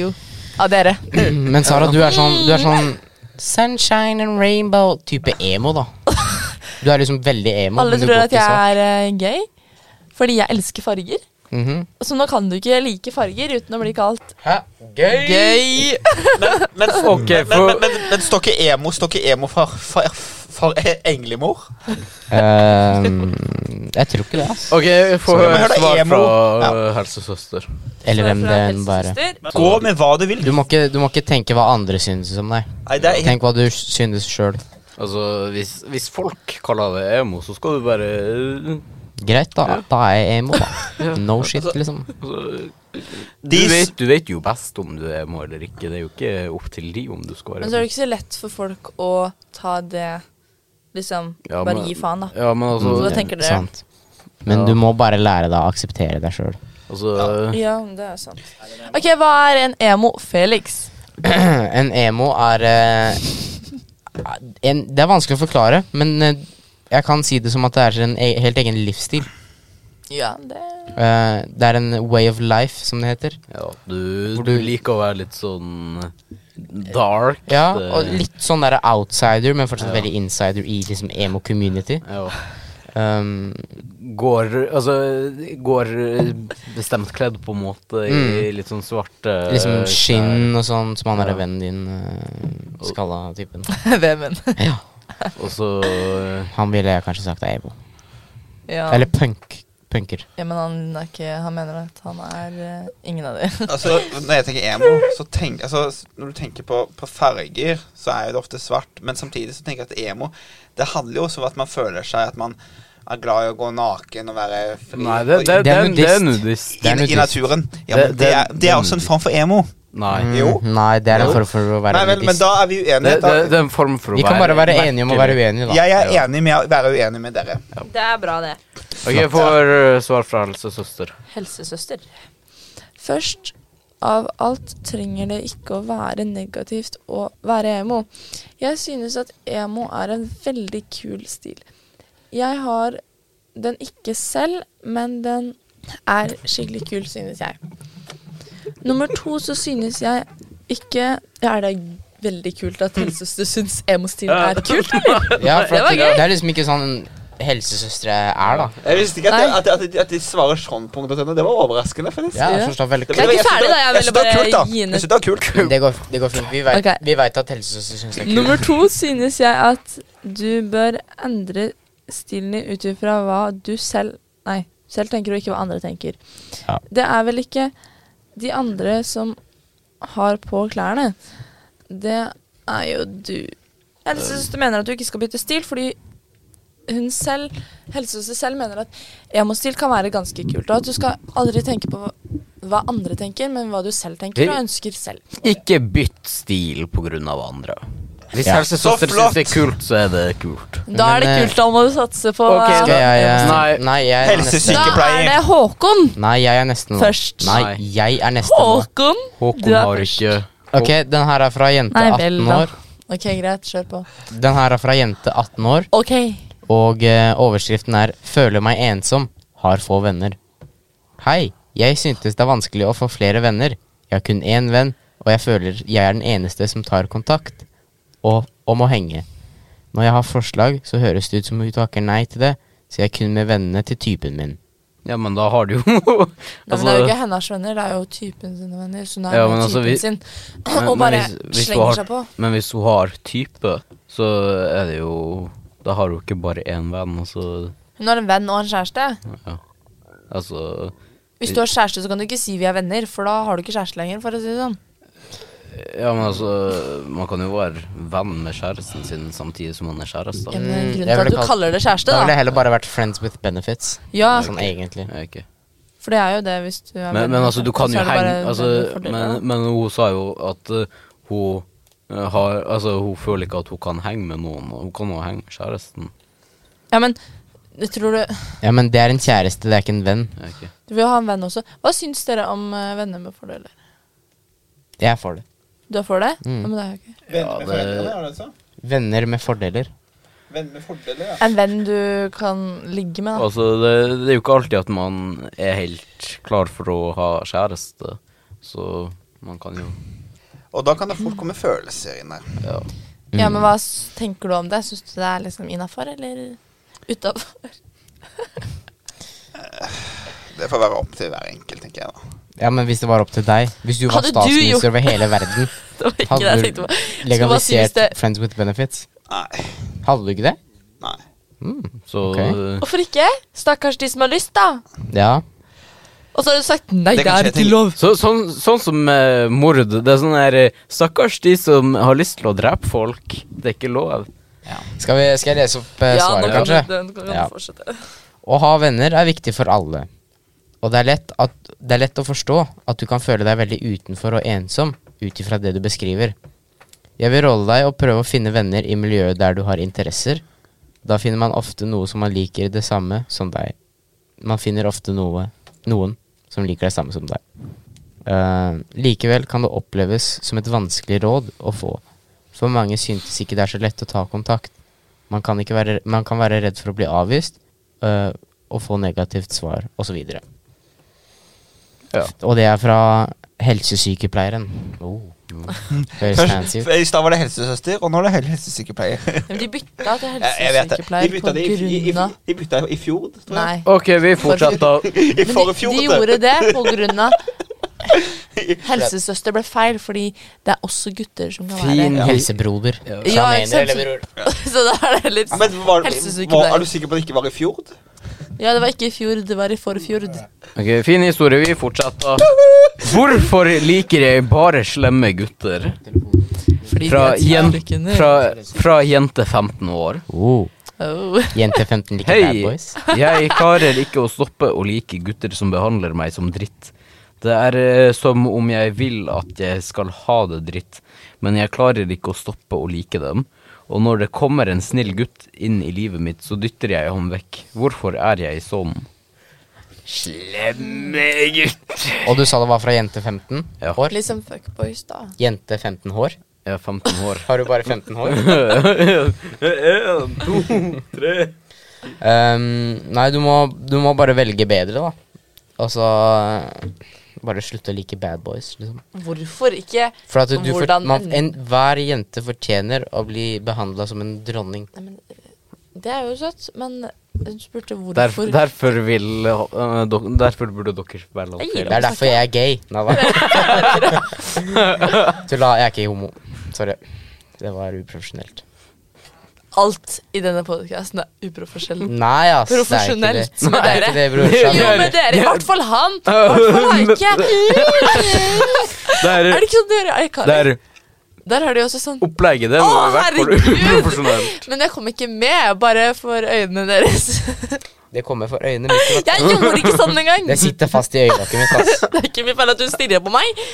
S4: Jo. Av dere.
S2: Men Sara, du er sånn, du er sånn Sunshine and rainbow-type emo, da. Du er liksom veldig emo.
S4: Alle
S2: men du
S4: tror
S2: går
S4: at
S2: ikke så-
S4: jeg er eh, gay fordi jeg elsker farger.
S2: Mhm.
S4: Så nå kan du ikke like farger uten å bli kalt
S2: Hæ? Gøy!
S4: gay.
S3: Men, men,
S1: Ok,
S3: men,
S1: for-
S3: men, men, men, men står ikke Emo, står ikke emo for, for, for e- englemor?
S2: Ehm, jeg tror ikke det, ass.
S1: Ok, få
S3: Så- Men hør da,
S1: svar
S3: emo.
S1: fra
S3: Ja.
S1: eh, helsesøster.
S2: Eller hvem det enn bare
S3: Gå med hva du vil.
S2: du må, ikke, du må ikke tenke hva andre synes om deg.
S3: Nei, det er helt
S2: Tenk hva du synes sjøl.
S1: Altså, hvis, hvis folk kaller det emo, så skal du bare eh,
S2: Greit, da. Da er jeg emo, da.
S1: Ja.
S2: No shit, liksom.
S1: altså, du,
S3: De s-
S1: vet, du vet jo best om du er emo eller ikke. Det er jo ikke opp til de om du skal
S4: Men
S1: være
S4: så er det
S1: emo.
S4: ikke så lett for folk å ta det Liksom
S1: Ja,
S4: bare
S1: men-
S4: gi faen, da.
S1: Ja, men altså,
S4: Så da tenker dere
S2: Mm, Sant. Men
S1: Ja.
S2: du må bare lære deg å akseptere deg sjøl.
S1: altså
S4: Ja, det er sant. OK, hva er en emo? Felix.
S2: en emo er eh, en, Det er vanskelig å forklare, men eh, jeg kan si det som at det er en e helt egen livsstil.
S4: Ja, det
S2: Eh, det er en way of life, som det heter.
S1: ja, du, du liker å være litt sånn dark. eh,
S2: Ja,
S1: det-
S2: og litt sånn der outsider, men fortsatt veldig insider i liksom emo-community.
S1: ja.
S2: Um,
S1: Går Altså, går eh, bestemt kledd på en måte i litt sånn svarte eh,
S2: liksom
S1: klær.
S2: skinn og sånn, som han
S1: Ja.
S2: derre vennen din eh, skalla typen.
S4: Vemund.
S2: Ja,
S1: Og så eh,
S2: han ville jeg kanskje sagt er emo.
S4: Ja.
S2: Eller punk. Punker.
S4: ja, men han er ikke Han mener at han er eh, ingen av de.
S3: Altså, når jeg tenker emo, så tenk, altså, s- når du tenker på, på farger, så er jo det ofte svart. Men samtidig så tenker jeg at emo Det handler jo også om at man føler seg at man er glad i å gå naken og være fri
S1: Nei, det, det,
S2: Det er
S1: det, det er
S2: nudist.
S1: nudist.
S2: det er
S3: i, i
S2: nudist.
S3: naturen. Ja,
S1: Det-
S3: men det, er,
S1: det-
S3: det er også en form for emo.
S1: Nei.
S3: Jo.
S2: Mm, Nei, det er en
S1: Jo.
S2: form for å være
S3: Nei vel, men
S2: nudist.
S3: da er vi
S1: Det,
S3: uenige.
S1: det,
S3: Da,
S1: det er en form for å
S2: Vi kan bare være enige om å være
S1: merkelig.
S2: uenige, da.
S3: jeg er enig med å være uenig med dere.
S4: Det er bra, det.
S1: Ok, jeg får eh, svar fra helsesøster.
S4: Helsesøster. Først av alt trenger det ikke å være negativt å være emo. Jeg synes at emo er en veldig kul stil. Jeg har den ikke selv, men den er skikkelig kul, synes jeg. Nummer to så synes jeg ikke ja, Er det veldig kult at helsesøster syns emo-stilen er kult?
S2: Ja, for
S4: Det var
S2: at det,
S4: gøy.
S2: det er liksom ikke sånn helsesøstre er, da.
S3: Jeg visste ikke at,
S4: Nei.
S3: at, at, at, de svarer sånn på ungdomstrinnet. Det var overraskende. faktisk.
S2: Ja,
S4: Ja.
S2: jeg forstår veldig
S3: Det
S4: Jeg er
S3: var-
S4: ikke
S3: synes
S4: ferdig,
S3: det var-
S4: da. Jeg ville
S3: synes det var
S4: bare
S3: kult, da.
S4: gi en-
S3: Jeg synes det var kult.
S2: Det går, det går fint. Vi vet,
S4: Ok.
S2: vi vet at helsesøstre syns det er kult.
S4: Nummer to synes jeg at du bør endre stilen din ut ifra hva du selv Nei, selv tenker og ikke hva andre tenker.
S2: Ja.
S4: Det er vel ikke de andre som har på klærne. Det er jo du. Helsesøster mener at du ikke skal bytte stil, fordi hun selv, helsesøster selv mener at emo-stil kan være ganske kult. Og at du skal aldri tenke på hva- hva andre tenker, men hva du selv tenker og ønsker selv.
S1: Ikke bytt stil på grunn av andre. Hvis
S2: Ja.
S3: Så
S1: helsesøster
S3: flott!
S1: syns det er kult, så er det kult.
S4: Da er det
S2: Men, eh,
S4: kult, da må du satse på
S1: Ok,
S2: Skal jeg, eh,
S1: Nei.
S2: nei, jeg er nesten
S3: Helsesykepleier.
S4: Da er det Håkon.
S2: Nei, jeg er nesten nå.
S4: Først.
S2: Nei, jeg er nesten nå.
S4: Håkon. Du
S1: Håkon
S4: er
S1: har
S4: først.
S1: ikke
S2: Ok, den her er fra jente
S4: Nei
S2: 18
S4: vel, da.
S2: år.
S4: Ok, greit. Kjør på.
S2: Den her er fra jente 18 år,
S4: Ok.
S2: og eh, overskriften er 'Føler meg ensom. Har få venner'. Hei, jeg syntes det er vanskelig å få flere venner. Jeg har kun én venn, og jeg føler jeg er den eneste som tar kontakt og om å henge. Når jeg har forslag, så høres det ut som hun takker nei til det, så jeg er kun med vennene til typen min.
S1: Ja, men da har du jo
S4: Nei, men det er jo
S1: Altså,
S4: ikke hennes venner, det er jo typen sine venner. Så hun er
S1: Ja,
S4: med
S1: men altså,
S4: typen
S1: vi-
S4: sin.
S1: men- men
S4: og bare
S1: hvis- hvis du
S4: slenger
S1: har-
S4: seg på.
S1: Men hvis hun har type, så er det jo Da har hun ikke bare én venn, altså.
S4: Hun har en venn og en kjæreste.
S1: Altså
S4: Hvis du har kjæreste, så kan du ikke si vi er venner, for da har du ikke kjæreste lenger. for å si det sånn.
S1: Ja, men altså Man kan jo være venn med kjæresten sin samtidig som man er kjæreste. Ja,
S4: Ja, men
S2: Mm, jeg
S4: grunnen til
S2: ville
S4: at du
S2: kalt-
S4: kaller det kjæreste,
S2: Da ville jeg
S4: da.
S2: heller bare vært friends with benefits.
S4: Ja,
S2: Sånn egentlig.
S1: ok.
S4: for det er jo det hvis du er
S1: Men,
S4: venn
S1: men
S4: med
S1: altså, du
S4: kjæreste,
S1: kan
S4: så
S1: jo
S4: er det bare
S1: henge altså,
S4: venner og fordeler,
S1: men,
S4: da.
S1: men hun sa jo at eh, hun eh, har Altså, hun føler ikke at hun kan henge med noen. og Hun kan jo henge med kjæresten.
S4: Ja, men jeg tror du,
S2: Ja, men det er en kjæreste, det er ikke en venn.
S1: Ja, ok.
S4: du vil jo ha en venn også. Hva syns dere om eh, venner med fordeler?
S2: Jeg er for det.
S4: Du er for det?
S2: Mm.
S4: Ja, men det er jo ikke.
S1: Ja, det-
S2: Venner med fordeler.
S3: Venn med fordeler, ja.
S4: En venn du kan ligge med, da.
S1: Altså, det, det er jo ikke alltid at man er helt klar for å ha kjæreste, så man kan jo
S3: Og da kan det fort komme følelser inn her.
S1: Ja.
S4: Ja, men hva s- tenker du om det? Syns du det er liksom innafor, eller utafor?
S3: Det får være opp til hver enkelt, tenker jeg. da.
S2: Ja, men hvis det var opp til deg Hvis du var
S4: Hadde du gjort-
S2: statsminister over hele verden,
S4: Det var ikke det
S2: hadde
S4: jeg
S2: du
S4: tenkte på. Skulle bare si hvis
S2: legalisert
S4: det-
S2: Friends with benefits?
S3: Nei.
S2: Hadde du ikke det?
S3: Nei.
S2: Mm.
S1: Så
S2: Ok.
S1: eh,
S4: Hvorfor ikke? Stakkars de som har lyst, da.
S2: Ja.
S4: Og så har du sagt nei,
S3: Det
S4: det,
S3: kan skje
S4: er ikke
S3: ting.
S4: lov.
S1: så, sånn, sånn som eh, mord. Det er sånn her eh, Stakkars de som har lyst til å drepe folk. Det er ikke lov.
S2: Skal, vi, skal jeg lese opp eh, svaret,
S4: nå kan
S2: kanskje?
S4: du- den kan du
S2: Ja.
S4: fortsette.
S2: Å ha venner er viktig for alle. Og det er, lett at, det er lett å forstå at du kan føle deg veldig utenfor og ensom ut ifra det du beskriver. Jeg vil råde deg å prøve å finne venner i miljøet der du har interesser. Da finner man ofte noe som man liker det samme som deg. Man finner ofte noe, noen som liker det samme som deg. Eh, likevel kan det oppleves som et vanskelig råd å få. For mange syntes ikke det er så lett å ta kontakt. Man kan, ikke være, man kan være redd for å bli avvist eh, og få negativt svar, osv.
S1: Ja.
S2: Og det er fra helsesykepleieren. Oh. Høres fancy ut.
S3: Først, I stad var det helsesøster, og nå er det hel- helsesykepleier.
S4: Men de bytta til
S3: Jeg, jeg vet det. De
S4: helsesykepleier
S3: bytta det i, i, i,
S4: på grunn av
S3: de bytta i fjor, tror jeg.
S4: Nei.
S1: OK, vi fortsetter.
S3: I
S4: Men de,
S3: forfjor.
S4: de
S3: tror jeg.
S4: gjorde det på grunn av Helsesøster ble feil, fordi det er også gutter som kan være
S1: Fin
S3: Ja.
S2: Helsebroder.
S1: Ja.
S2: Så
S4: Ja,
S2: han
S4: ikke
S2: mener,
S4: sant?
S2: eller bror?
S4: Så da er det litt
S3: Men var, var,
S4: Helsesykepleier.
S3: er du sikker på at det ikke var i fjor?
S4: Ja, det var ikke i fjor, det var i forfjord.
S1: Ok, Fin historie. Vi fortsetter. Hvorfor liker jeg bare slemme gutter?
S4: Fordi
S1: Fra,
S4: de er
S1: jen,
S4: trykkende.
S1: fra, fra jente 15 år.
S2: Oh.
S4: Oh.
S2: Jente 15 liker
S1: Hei.
S2: bad boys.
S1: Jeg klarer ikke å stoppe å like gutter som behandler meg som dritt. Det er eh, som om jeg vil at jeg skal ha det dritt, men jeg klarer ikke å stoppe å like dem. Og når det kommer en snill gutt inn i livet mitt, så dytter jeg ham vekk. Hvorfor er jeg sånn? Slemme gutt.
S2: Og du sa det var fra jente 15
S1: Ja.
S2: hår?
S4: Liksom fuckboys, da.
S2: Jente 15 hår?
S1: Jeg er 15 år.
S2: Har du bare 15 hår?
S1: En, to, tre.
S2: Ehm, nei, du må, du må bare velge bedre, da. Altså Bare slutte å like bad boys, liksom.
S4: Hvorfor ikke?
S2: For at du
S4: Hvordan
S2: fort, man,
S4: en-
S2: en, Hver jente fortjener å bli behandla som en dronning.
S4: Nei, men, det er jo søtt, men Hun spurte
S1: Derf,
S4: hvorfor.
S1: derfor, vil, eh, dok- derfor burde dere spille
S4: Jeg
S1: opp
S4: gir
S2: Det er derfor jeg er gay. Nei da. Tulla, jeg er ikke homo. Sorry. Det var uprofesjonelt.
S4: Alt i denne podkasten er uprofesjonelt.
S2: Nei, ass. det er ikke det.
S4: Profesjonelt med
S2: Det er ikke
S4: dere.
S2: det, brorsan.
S4: Jo, men dere, i hvert fall han! I hvert fall han ikke.
S1: Der,
S4: Er det ikke sånn dere er, Karin?
S1: der
S4: Der har de også sånn
S1: opplegget, det var i hvert fall
S4: herregud!
S1: uprofesjonelt.
S4: Men jeg kom ikke med, bare for øynene deres.
S2: Det kommer for øynene mine.
S4: Jeg gjorde ikke sånn engang!
S2: Det sitter fast i øyelokket mitt, ass.
S4: Det er ikke min feil at du stirrer på meg.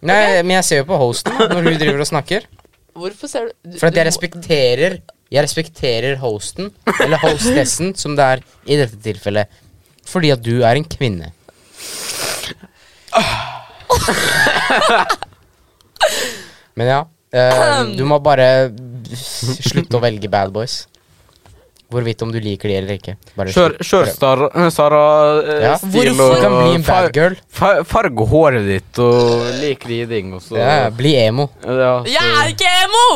S2: Nei, men jeg ser jo på hosten når hun driver og snakker.
S4: Hvorfor ser du
S2: For at jeg respekterer Jeg respekterer hosten, eller hostessen, som det er i dette tilfellet. Fordi at du er en kvinne. Men ja. eh, du må bare slutte å velge bad boys. Hvorvidt om du liker de eller ikke. Bare
S1: Kjør,
S2: slutt.
S1: kjør eh, Sara-
S2: Ja.
S1: Sara-stil
S2: Du kan bli en
S1: og
S2: bad girl.
S1: far, farg håret ditt og lik riding, og så
S2: Ja, bli emo.
S1: Ja, så-
S4: Jeg er ikke emo!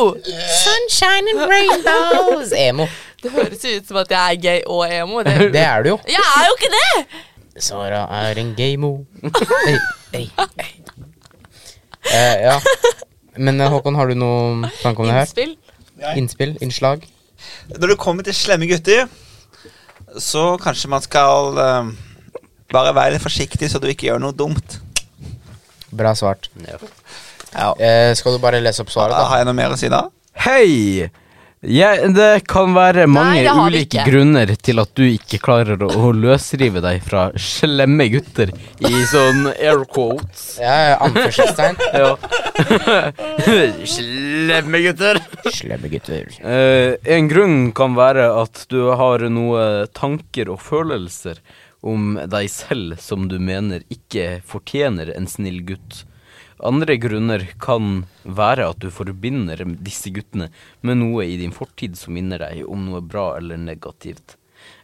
S2: Sunshine and rainbows. Emo.
S4: Det høres jo ut som at jeg er gay og emo. Det.
S2: Det er du jo.
S4: Jeg er jo ikke det!
S2: Sara er en gaymo. Hey, hey, hey. Eh, ja. Men eh, Håkon, har du noen tanke om det her?
S4: Innspill.
S2: Innspill? Innslag?
S3: Når det kommer til slemme gutter, så kanskje man skal eh, bare være litt forsiktig, så du ikke gjør noe dumt.
S2: Bra svart.
S3: Ja.
S2: Eh, skal du bare lese opp svaret, da?
S3: Har jeg noe mer å si da?
S1: Hei! Jeg, det kan være mange
S4: det har vi
S1: ulike
S4: ikke.
S1: grunner til at du ikke klarer å, å løsrive deg fra slemme gutter i sånn air quotes.
S2: Ja, ja, Anførselstegn.
S1: Ja. slemme gutter.
S2: Slemme gutter.
S1: Eh, en grunn kan være at du har noe tanker og følelser om deg selv som du mener ikke fortjener en snill gutt. Andre grunner kan være at du forbinder disse guttene med noe i din fortid som minner deg om noe bra eller negativt.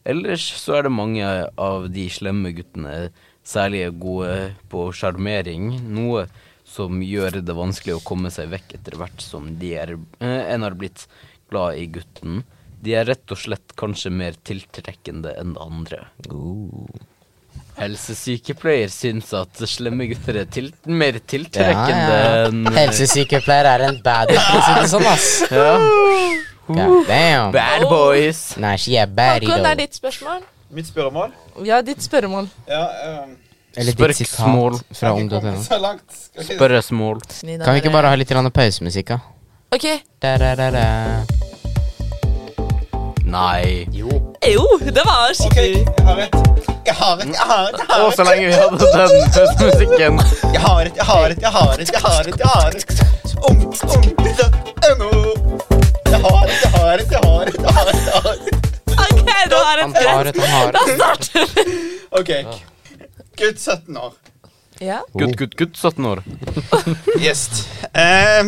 S1: Ellers så er det mange av de slemme guttene særlig gode på sjarmering, noe som gjør det vanskelig å komme seg vekk etter hvert som de er, eh, en har blitt glad i gutten. De er rett og slett kanskje mer tiltrekkende enn andre. Helsesykepleier syns at slemme gutter er til, eh, mer tiltrekkende enn
S2: Helsesykepleier er en bad for å si det sånn, ass. God damn.
S1: bad boys.
S2: Nei, she a baddie,
S4: Håkon, det er
S2: though.
S4: ditt spørsmål.
S3: Mitt spørremål?
S4: Ja, ditt spørsmål.
S3: Ja, ehm,
S2: Eller ditt
S1: Spørsmål.
S2: sitat fra ung.no.
S3: så langt.
S1: Spørresmål.
S2: Kan vi ikke bare ha litt grann pausemusikk, da?
S4: OK.
S2: Da, da, da, da.
S1: Nei.
S4: Jo, det var skikkelig
S3: jeg har et. Jeg har et, jeg har et,
S1: Å, så lenge vi hadde den festmusikken.
S3: jeg har et, jeg har et, jeg har et, jeg har et, jeg har et. Om, om, Jeg har et, jeg har et, jeg har et, jeg har et, jeg har et.
S4: OK, nå er det
S2: Han har et, han har et.
S3: Ok. Gutt 17 år.
S4: Ja.
S1: Gutt, gutt, gutt, 17 år.
S3: Yes. Eh,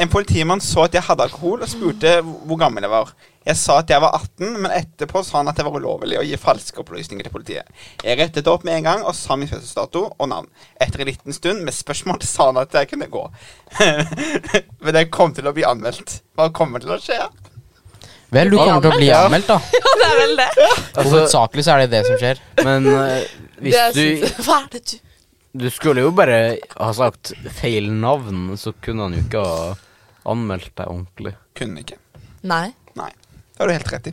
S3: en politimann så at jeg hadde alkohol, og spurte hvor gammel jeg var. Jeg sa at jeg var 18, men etterpå sa han at det var ulovlig å gi falske opplysninger til politiet. Jeg rettet opp med en gang og sa min fødselsdato og navn. Etter en liten stund med spørsmål sa han at jeg kunne gå. men jeg kom til å bli anmeldt. Hva kommer til å skje?
S2: Vel, du kommer til å bli anmeldt, da.
S4: ja, det er vel det.
S1: Altså,
S2: Hovedsakelig så er det det som skjer.
S1: men eh,
S4: det
S1: hvis
S4: er,
S1: du
S4: Hva er det du
S1: Du skulle jo bare ha sagt feil navn, så kunne han jo ikke ha anmeldt deg ordentlig.
S3: Kunne ikke.
S4: Nei.
S3: Nei. Det har du helt rett i.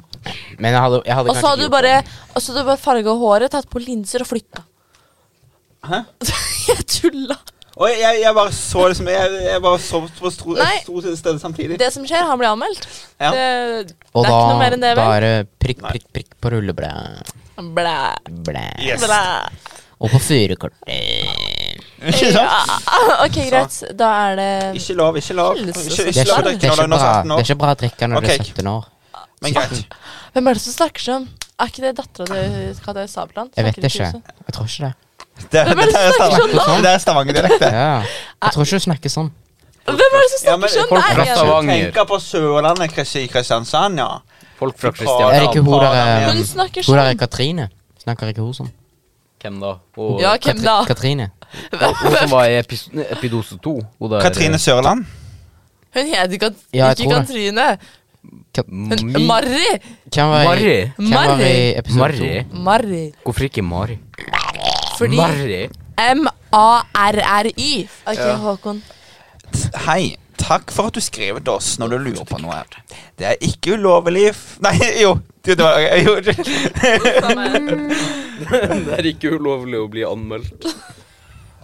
S2: Men jeg hadde, jeg hadde
S4: Og så
S2: kanskje ikke
S4: hadde du
S2: gjort det.
S4: bare, og så hadde du bare farga håret, tatt på linser og flytta.
S3: Hæ?
S4: Jeg tulla.
S3: Og jeg, jeg bare så liksom Jeg, jeg bare så på stro-
S4: Nei.
S3: stort sted samtidig.
S4: Det som skjer, han blir anmeldt.
S3: Ja.
S4: Det,
S2: Og
S4: det
S2: da,
S4: er ikke noe mer enn det,
S2: da
S4: vel?
S2: er det prikk,
S3: Nei.
S2: prikk, prikk på rullebladet.
S4: Blæ,
S2: Blæ.
S3: Yes.
S4: blæ.
S2: Og på furukortet.
S3: Ikke sant?
S4: OK, greit. Da er det
S3: Ikke lov, ikke lov. Ikke,
S4: Helse.
S2: Det
S3: ikke
S2: er
S3: lov å
S2: ikke, det, er
S3: drikke når du
S2: ikke
S3: er under
S2: bra,
S3: 18
S2: det er
S3: år.
S2: ikke bra å drikke når du
S3: Ok.
S2: er 17 år.
S3: Men greit.
S4: Hvem er det som snakker sånn? Er ikke det dattera til Kadir Sabeltann?
S2: Jeg vet
S4: Snakker
S2: ikke.
S4: sånn?
S2: Jeg tror ikke det.
S3: Det,
S4: Hvem er det
S3: det er
S4: som snakker sånn
S3: Stavanger-
S4: da?
S3: det er Stavanger-direkte.
S2: Ja. Jeg tror ikke du snakker sånn.
S4: Hvem er det som
S3: Ja, men
S4: snakker sånn?
S1: folk fra
S4: Nei, jeg-
S1: Stavanger.
S3: Tenker på Sørlandet, Kristi- Kristiansand, ja.
S1: Folk fra
S2: Er det
S1: Kristiania.
S2: ikke hun der eh,
S4: Hun snakker
S2: Hun der er
S4: sånn.
S2: Katrine? Snakker ikke hun sånn?
S1: Hvem da? Og
S4: Ja, hvem
S2: Katri-
S4: da?
S2: Katrine.
S1: hun som var i epis Epidose 2. Hun der,
S3: Katrine Sørland.
S4: Hun heter Kat
S2: Ja, jeg
S4: ikke
S2: tror det.
S4: Katrine. Hun-
S1: Mi-
S4: Marry!
S2: Hvem var, i-
S1: Marry?
S2: Hvem var i episode
S1: Marry?
S2: to?
S4: Marry.
S1: Hvorfor ikke Mari?
S4: Fordi
S1: Mari?
S4: M-A-R-R-Y.
S5: Ok,
S3: Ja.
S5: Håkon.
S3: Hei. Takk for at du skrev til oss når du lurer på noe. Det er ikke ulovlig f Nei, jo. Det var, jo.
S1: det er ikke ulovlig å bli anmeldt.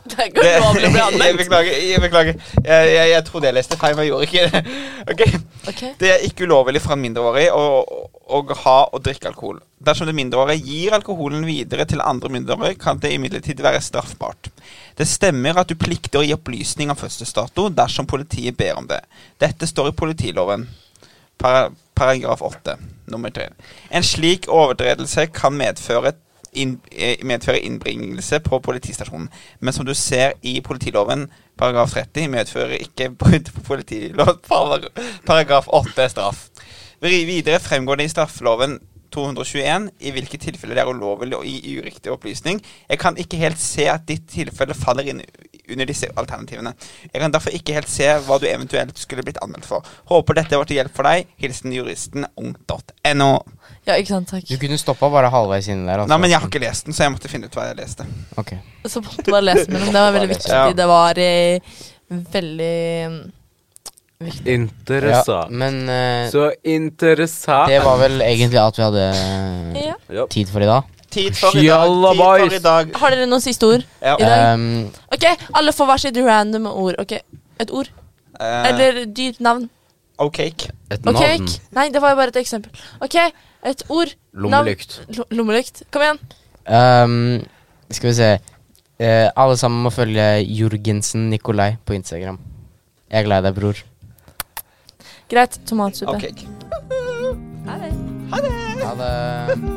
S4: Det er ikke ulovlig å bli
S3: Jeg
S4: anmeldt.
S3: beklager. Jeg, beklager. jeg, jeg, jeg trodde jeg leste feil, men jeg gjorde ikke det. Ok.
S4: Ok.
S3: Det er ikke ulovlig for en mindreårig å, å, å ha og drikke alkohol. Dersom den mindreårige gir alkoholen videre til andre mindreårige, kan det imidlertid være straffbart. Det stemmer at du plikter å gi opplysning om fødselsdato dersom politiet ber om det. Dette står i politiloven. Para, paragraf 8, nummer 3. En slik overtredelse kan medføre, inn, eh, medføre innbringelse på politistasjonen, men som du ser i politiloven paragraf 30, medfører ikke brudd på politiloven paragra- paragraf 8 straff. Vri- Videre fremgår det i straffeloven 221 i hvilke tilfeller det er ulovlig å gi uriktig opplysning. Jeg kan ikke helt se at ditt tilfelle faller inn under disse alternativene. Jeg kan derfor ikke helt se hva du eventuelt skulle blitt anmeldt for. Håper dette var til hjelp for deg. Hilsen juristen ung.no.
S4: Ja, ikke sant, takk.
S2: Du kunne stoppa bare halvveis inni der. altså.
S3: Nei, men jeg har ikke lest den, så jeg måtte finne ut hva jeg leste.
S2: Ok.
S4: Så måtte man lese mellom. Det var veldig viktig.
S3: Ja.
S4: Det var eh, veldig mm, viktig.
S2: Ja,
S1: Interessant.
S2: men eh,
S1: Så interessant.
S2: det var vel egentlig alt vi hadde eh,
S4: Ja.
S1: Ja.
S2: tid for i dag.
S3: Tid for i dag. Tid for i dag.
S5: Har dere noen siste ord?
S3: Ja.
S4: I dag?
S2: Um,
S5: Ok, alle får hver sitt random ord. Ok, Et ord.
S3: eh,
S5: Eller dyrt navn.
S3: OK.
S1: Et
S5: Ok,
S1: navn.
S5: ikke- Nei, det var jo bare et eksempel. Ok, et ord.
S1: Lommelykt.
S5: Navn. Lo- Lommelykt. Kom igjen.
S2: um, skal vi se Eh, Alle sammen må følge Jørgensen Nikolai på Instagram. Jeg er glad i deg, bror.
S5: Greit. Tomatsuppe.
S3: okay.
S5: Ha det.
S2: Ha det.